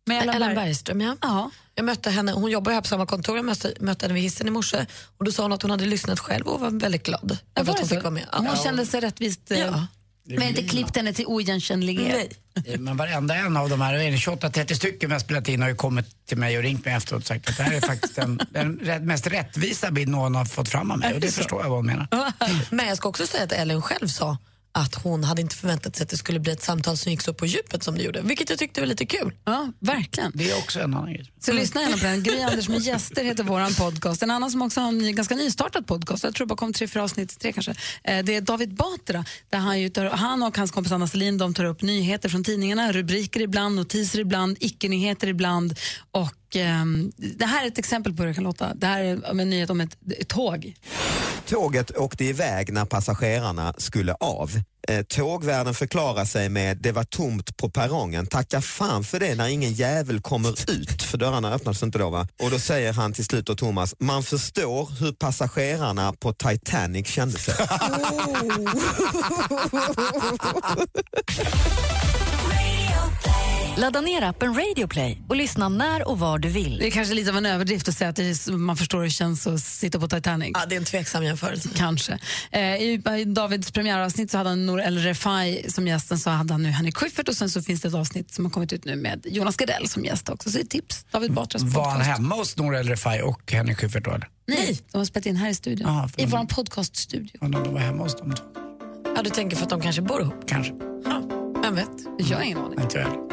Med Ellen
Ellen
Berg.
Bergström, ja. Jag mötte henne, hon jobbar ju här på samma kontor, jag mötte, mötte henne vid hissen i morse och då sa hon att hon hade lyssnat själv och var väldigt glad över att hon fick vara med.
Hon kände sig rättvist... eh, Men inte klippt henne till oigenkännlighet.
Eh, Men varenda en av de här, det är 28-30 stycken vi har spelat in, har ju kommit till mig och ringt mig efteråt och sagt att det här är faktiskt den, den rätt- mest rättvisa bild någon har fått fram av mig. Och det förstår jag vad hon menar.
Men jag ska också säga att Ellen själv sa att hon hade inte förväntat sig att det skulle bli ett samtal som gick så på djupet som det gjorde, vilket jag tyckte var lite kul.
Ja, verkligen.
Det är också en annan grej.
Så lyssna gärna på den. Gry Anders med gäster heter våran podcast. En annan som också har en ny, ganska nystartad podcast, jag tror det bara kom tre, fyra avsnitt, tre kanske, eh, det är David Batra. Där han, ju tar, han och hans kompis Anna Selin de tar upp nyheter från tidningarna, rubriker ibland, notiser ibland, icke-nyheter ibland. Och, ehm, det här är ett exempel på hur det kan låta. Det här är om en nyhet om ett, ett tåg.
Tåget åkte iväg när passagerarna skulle av. Eh, Tågvärden förklarar sig med det var tomt på perrongen. Tacka fan för det när ingen jävel kommer ut, för dörrarna öppnades inte då. Va? Och då säger han till slut då Thomas, man förstår hur passagerarna på Titanic kände sig.
Ladda ner appen Radioplay och lyssna när och var du vill.
Det är kanske lite av en överdrift att säga att det är, så- man förstår hur det känns att sitta på Titanic.
Ja, det är en tveksam jämförelse.
Kanske. Eh, I i Davids premiäravsnitt så hade han Nour El Refai som gästen, så hade han nu Henrik Schyffert och sen så finns det ett avsnitt som har kommit ut nu med Jonas Gardell som gäst också. Så det är tips, David Batras
Var han
podcast.
hemma hos Nour El Refai och Henrik Schyffert då eller?
Nej, de har spelat in här i studion.
Ah,
I vår podcaststudio.
Undrar om de var hemma hos dem?
Ja, du tänker för att de kanske bor ihop?
Kanske.
Vem vet?
Jag har ingen aning.
Inte jag heller.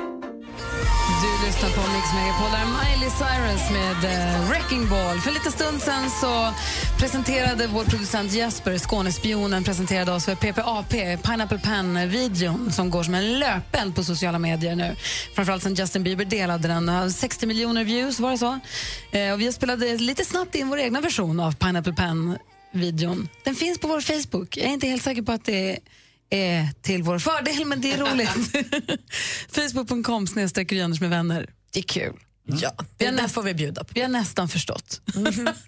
Du lyssnar på Mix Megapol. Där är Miley Cyrus med eh, Wrecking Ball. För lite stund sen så presenterade vår producent Jesper, Skånespionen, presenterade oss för PPAP, Pineapple Pen-videon som går som en löpeld på sociala medier nu. Framförallt sen Justin Bieber delade den. Den har 60 miljoner views, var det så? Eh, och vi spelade lite snabbt in vår egna version av Pineapple Pen-videon. Den finns på vår Facebook. Jag är inte helt säker på att det är till vår fördel, men det är roligt. Facebook.com snedstreck Gry Anders med vänner. Det är kul.
Mm.
Ja,
det är får vi bjuda på. Mm-hmm. Vi har nästan förstått.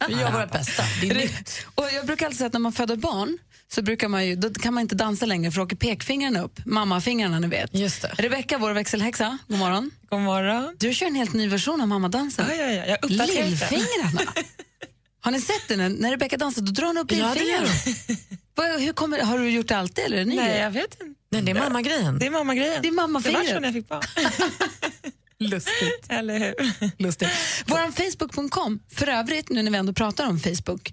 Vi gör vårt bästa. Det är nytt.
Och jag brukar alltid säga att när man föder barn så brukar man ju, då kan man inte dansa längre för då åker pekfingrarna upp. Mammafingrarna, ni vet. Just det. Rebecka, vår växelhäxa, god morgon. God morgon. Du kör en helt ny version av mammadansen.
Ja, ja, ja, jag uppdaterar inte.
Lillfingrarna. Har ni sett den? När Rebecka dansar då drar hon upp
Ja, det gör
lillfingrarna. Vad- hur kommer, har du gjort det alltid eller är det ny
Nej,
grej?
jag vet inte.
Nej, det är mammagrejen.
Det är mammagrejen.
Det är mammafingret.
Det var så när jag fick barn.
Lustigt. Eller hur? Lustigt. Vår Facebook.com, för övrigt nu när vi ändå pratar om Facebook.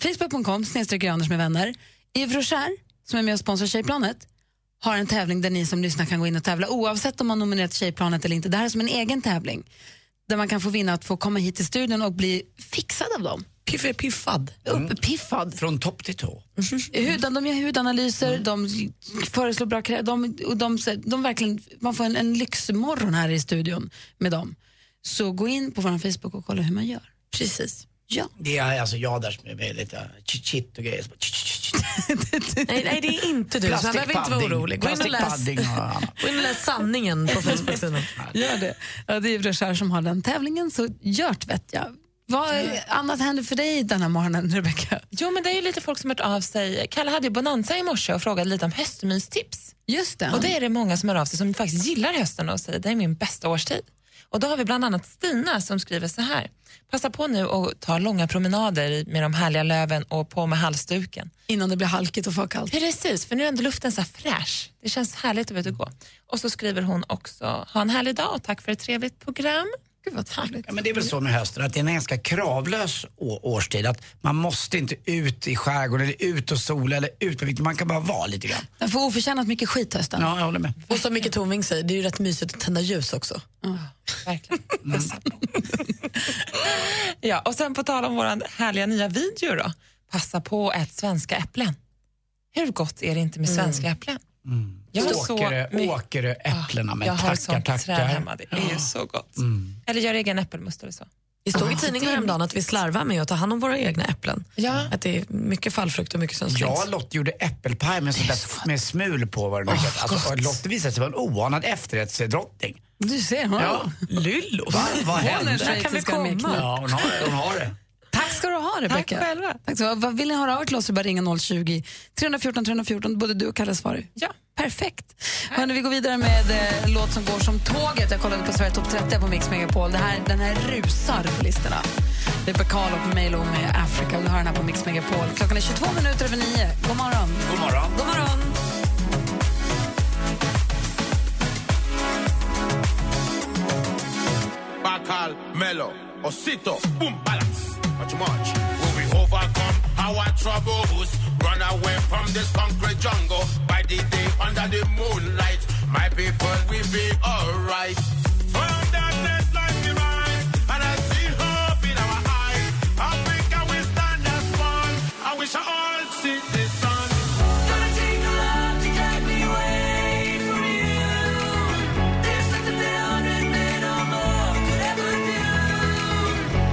Facebook.com snedstreck Anders med vänner. Yves Rocher, som är med och sponsrar Tjejplanet, har en tävling där ni som lyssnar kan gå in och tävla oavsett om man nominerat Tjejplanet eller inte. Det här är som en egen tävling där man kan få vinna att få komma hit till studion och bli fixad av dem.
Piff, piffad.
Uppiffad.
Från topp till tå.
Hudan, de gör hudanalyser, de föreslår bra krä- de, och de, de verkligen, Man får en, en lyxmorgon här i studion med dem. Så gå in på vår Facebook och kolla hur man gör. Precis. Ja.
Det är alltså jag där som är med lite chit-chit och grejer. Så bara tch, tch, tch.
Nej, nej, det är inte du. Så man behöver inte vara
Plastikpadding.
orolig. Gå in och läs,
Plastikpadding och annat.
gå in och läs sanningen på Facebook-sidan.
Gör det. Ja, det är Rechard som har den tävlingen, så gjort vet jag. Vad annat händer för dig den här morgonen, Rebecca?
Mm. Jo, men det är ju lite folk som hört av sig. Kalle hade ju Bonanza i morse och frågade lite om höstmystips.
Just det.
Och det är det många som hör av sig som faktiskt gillar hösten och säger det är min bästa årstid. Och då har vi bland annat Stina som skriver så här. Passa på nu och ta långa promenader i- med de härliga löven och på med halsduken.
Innan det blir halkigt och för kallt.
Precis, för nu är ändå luften så här fräsch. Det känns härligt att vara ute och gå. Och så skriver hon också, ha en härlig dag och tack för ett trevligt program.
Gud vad trevligt.
Ja, men det är väl så med hösten att det är en ganska kravlös å- årstid. Att man måste inte ut i skärgården eller ut och sola eller ut på vinden. Man kan bara vara lite grann.
Den får oförtjänat mycket skit hösten.
Ja, jag håller med.
Och som Micke Tornving säger, det är ju rätt mysigt att tända ljus också.
Ja, och sen på tal om vår härliga nya video då. Passa på och ät svenska äpplen. Hur gott är det inte med
Mm.
svenska äpplen? Jag har så
Åkerö,
mycket-
Åkerö, äpplena med
jag har
tackar,
sånt träd
tackar. Mm.
hemma. Det är ju så gott. Eller gör egen äppelmust eller så.
Det stod i tidningen häromdagen att vi slarvar med att ta hand om våra egna äpplen.
Ja.
Att det är mycket fallfrukt och mycket som slängs.
Jag och Lotte gjorde äppelpaj med, sånt där, med smul på. Var det
Oh,
nu heter. alltså, och Lotte visade sig vara en oanad efterrättsdrottning.
Du ser, hon.
Ja.
Lyllo.
Va, vad
Hon är
hände?
schweiziska mäktig.
Ja, hon har, hon har det.
Tack ska du ha, Rebecca.
Tack själva.
Tack så, vad vill ni höra av er till oss så bara ringa 020 314 314. Både du och Kalle svarar.
Ja.
Perfekt. Hörrni, vi går vidare med eh, en låt som går som tåget. Jag kollade på Sverige Topp 30 på Mix Megapol. Det här, den här rusar på listorna. Det är Bacalo på Milo med Africa. Du hör den här på Mix Megapol. Klockan är 22 minuter över 9. God morgon.
God morgon.
God morgon.
Bacal, Melo, Osito, Boom, Balance. Much, much. Will we overcome our troubles? Run away from this concrete jungle. By the day, under the moonlight, my people will be alright. From darkness, light we rise, and I see hope in our eyes. Africa, we stand as one, and we shall all see the sun. Gonna take a lot to get me away from you. There's nothing that a hundred men or more could ever do.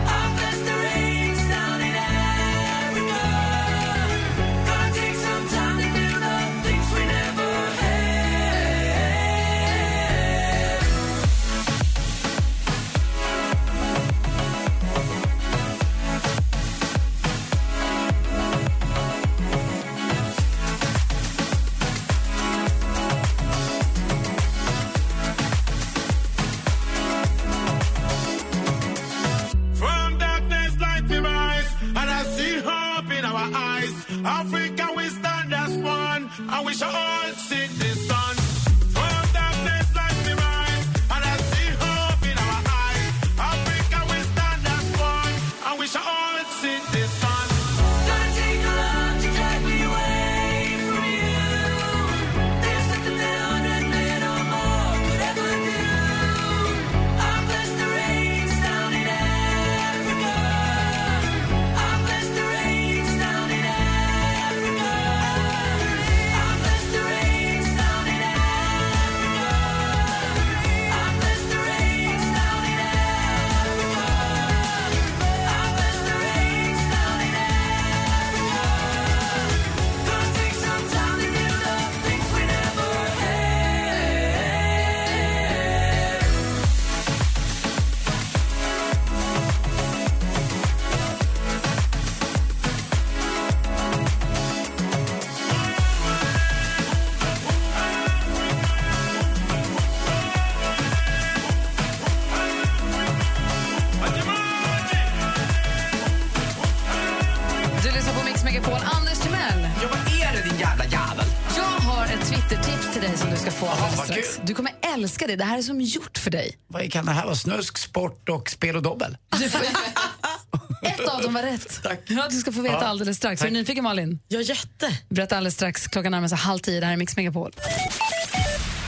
I'll press the rings down in Africa. Gonna take some time to do the things we never had. From darkness, light we rise, and I see hope in our eyes. Africa, we stand as one, and we shall all see the sun. From darkness, light we rise, and I see hope in our eyes. Africa, we stand as one, and we shall all see the sun. Gonna take a lot to get me away from you. There's nothing that a hundred men or more could ever do. I'll bless the rains down in Africa. I'll bless the rains down in Africa. I'll bless the rains down in Africa. I'll bless the rains down in Africa. I'll bless the rains down in Africa. Gonna take some time to build up things we never had.
Du lyssnar på Mix Megapol. Anders Timell.
Ja, vad är det din jävla jävel?
Jag har ett Twitter-tips till dig som du ska få
Jaha,
alldeles
vad
strax.
kul.
Du kommer älska det. Det här är som gjort för dig.
Vad kan det här vara? Snusk, sport och spel och dobbel?
Du får Ett av dem var rätt. Tack. Ja, du ska få veta
Ja.
alldeles strax. Är du
Tack.
nyfiken, Malin? Ja, jätte. Berätta alldeles strax. Klockan närmar sig halv tio. Det här är Mix Megapol.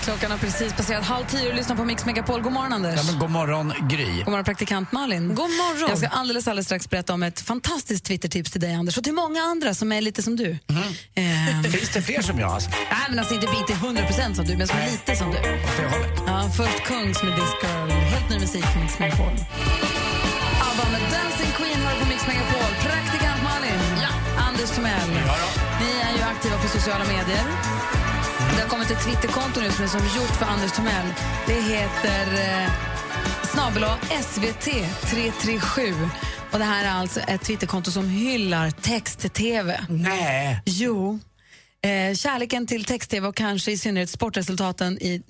Klockan har precis passerat halv tio och lyssnar på Mix Megapol. God morgon, Anders.
Ja, men god morgon, Gry.
God morgon, praktikant Malin. God morgon. Jag ska alldeles, alldeles strax berätta om ett fantastiskt Twittertips till dig, Anders, och till många andra som är lite som du. Ehm.
Finns det fler som jag? Alltså?
Nej, men alltså inte bit till 100% som du, men som är lite som du. Ja, först Kungs med This Girl. Helt ny musik från Mix Megapol. ABBA med Dancing Queen har du på Mix Megapol. Praktikant Malin. Anders Timell. Ni är ju aktiva på sociala medier. Det har kommit ett Twitterkonto nu som är som gjort för Anders Timell. Det heter eh, snabel SVT337. Och det här är alltså ett Twitterkonto som hyllar text-tv.
Nej.
Jo. Eh, kärleken till text-tv och kanske i synnerhet sportresultaten i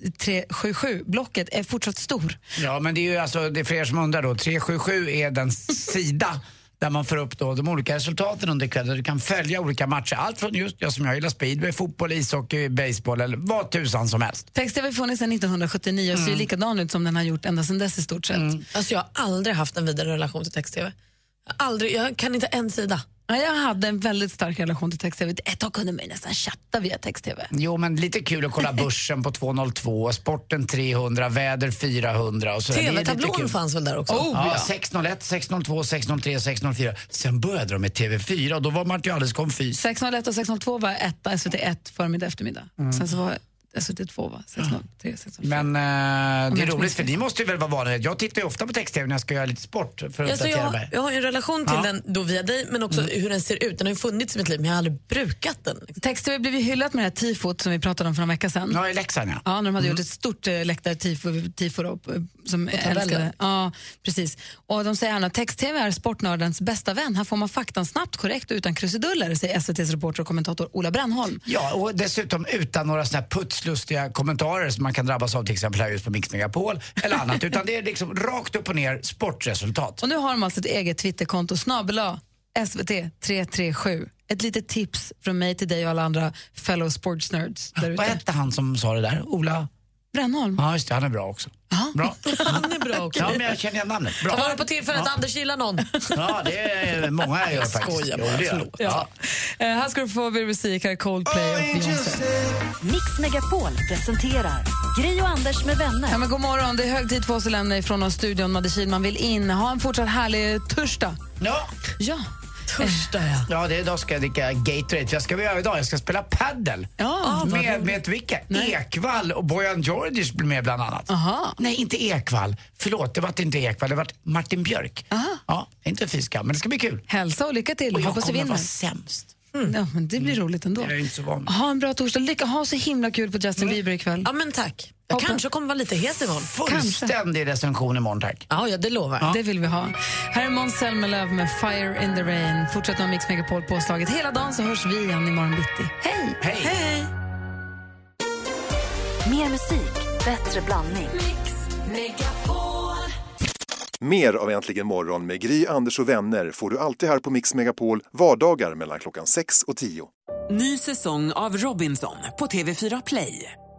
377-blocket är fortsatt stor.
Ja, men det är ju alltså, det är för er som undrar då, 377 är den sida där man får upp då de olika resultaten under kvällen. Du kan följa olika matcher, allt från just jag som jag gillar speedway, fotboll, ishockey, baseball eller vad tusan som helst.
Text-tv har funnits sedan 1979 och ser ju likadan ut som den har gjort ända sedan dess i stort sett.
Mm. Alltså jag har aldrig haft en vidare relation till text-tv. Aldrig, jag kan inte en sida.
Ja, jag hade en väldigt stark relation till text-tv. Ett tag kunde man ju nästan chatta via text-tv.
Jo, men lite kul att kolla börsen på 202, sporten 300, väder 400 och så.
TV-tablån fanns väl där också?
Oh, ja.
Ja.
601, 602, 603, 604. Sen började de med TV4 och då var man ju alldeles konfys.
601 och 602 var eh, etta, SVT 1 förmiddag eftermiddag.
Mm.
Sen så var SVT 2 va? 603, 604.
Men eh, det är
jag inte
roligt
minns
för ni måste ju väl vara vana. Jag tittar ju ofta på text-tv när jag ska göra lite sport för att
Alltså jag,
uppdatera
har-
mig.
jag har ju en relation till
Ja. Mm.
den då via dig, men också hur den ser ut. Den har ju funnits i mitt liv, men jag har aldrig brukat den. liksom.
Text-tv blev ju hyllat med det här tifot som vi pratade om för en vecka sedan.
Ja, i Leksand ja. Mm.
Ja, när de hade gjort ett stort eh, läktartifo tifo då, eh, som
På tabellen.
älskade. Ja, precis. Och de säger gärna text-tv är sportnördens bästa vän. Här får man faktan snabbt, korrekt och utan krusiduller, säger SVTs reporter och kommentator Ola Brännholm.
Ja, och dessutom utan några såna här putslustiga kommentarer som man kan drabbas av till exempel här just på Mix Megapol eller annat. Utan det är liksom rakt upp och ner sportresultat.
Och nu har de alltså ett eget Twitterkonto, snabela SVT337. Ett litet tips från mig till dig och alla andra fellow sportsnerds där
Vad
ute.
hette han som sa det där? Ola?
Brännholm.
Ja, just det. Han är bra också. Bra.
Han är bra också.
Ja, men jag känner igen namnet. Bra.
Ta vara på tillfället,
Ja.
Anders gillar någon.
Ja, det är många jag gör
Jag
faktiskt.
skojar
Jo,
bara,
det gör jag.
förlåt.
Ja.
Eh, här ska du få mer musik, här är Coldplay och Beyoncé.
Mix Megapol presenterar Gri och Anders med vänner.
Ja, men god morgon, det är hög tid för oss att lämna ifrån oss studion. Madde Kihlman vill in. Ha en fortsatt härlig torsdag.
Ja.
Ja.
Torsdag, ja.
Ja, det är idag ska jag dricka Gatorade. För jag ska vad göra idag? Jag ska spela paddel Ah,
Ja, vad
med,
roligt.
med vilka? Ekvall och Bojan Djordjic blir med bland annat.
Aha.
Nej, inte Ekvall. Förlåt, det var inte Ekvall. Det var Martin Björk. Ja, inte fiska, men det ska bli kul.
Hälsa och lycka till.
Och jag
Hoppas du
kommer
vinner.
vara sämst.
Mm.
Mm.
Ja, men det blir roligt ändå.
Jag är inte så van.
Ha en bra torsdag. Lycka, ha så himla kul på Justin Bieber ikväll.
Mm. Ja, men tack. Jag
Hoppas-
kanske kommer vara lite het imorgon.
Fullständig recension imorgon, tack.
Ja, ja, det lovar jag.
Det vill vi ha. Här är Måns Zelmerlöw med Fire in the Rain. Fortsätt med Mix Megapol påslaget hela dagen så hörs vi igen imorgon bitti. Hej!
Hej!
Hej.
Mer musik, bättre blandning.
Mer av Äntligen morgon med Gry, Anders och vänner får du alltid här på Mix Megapol vardagar mellan klockan 6 och 10.
Ny säsong av Robinson på TV4 Play.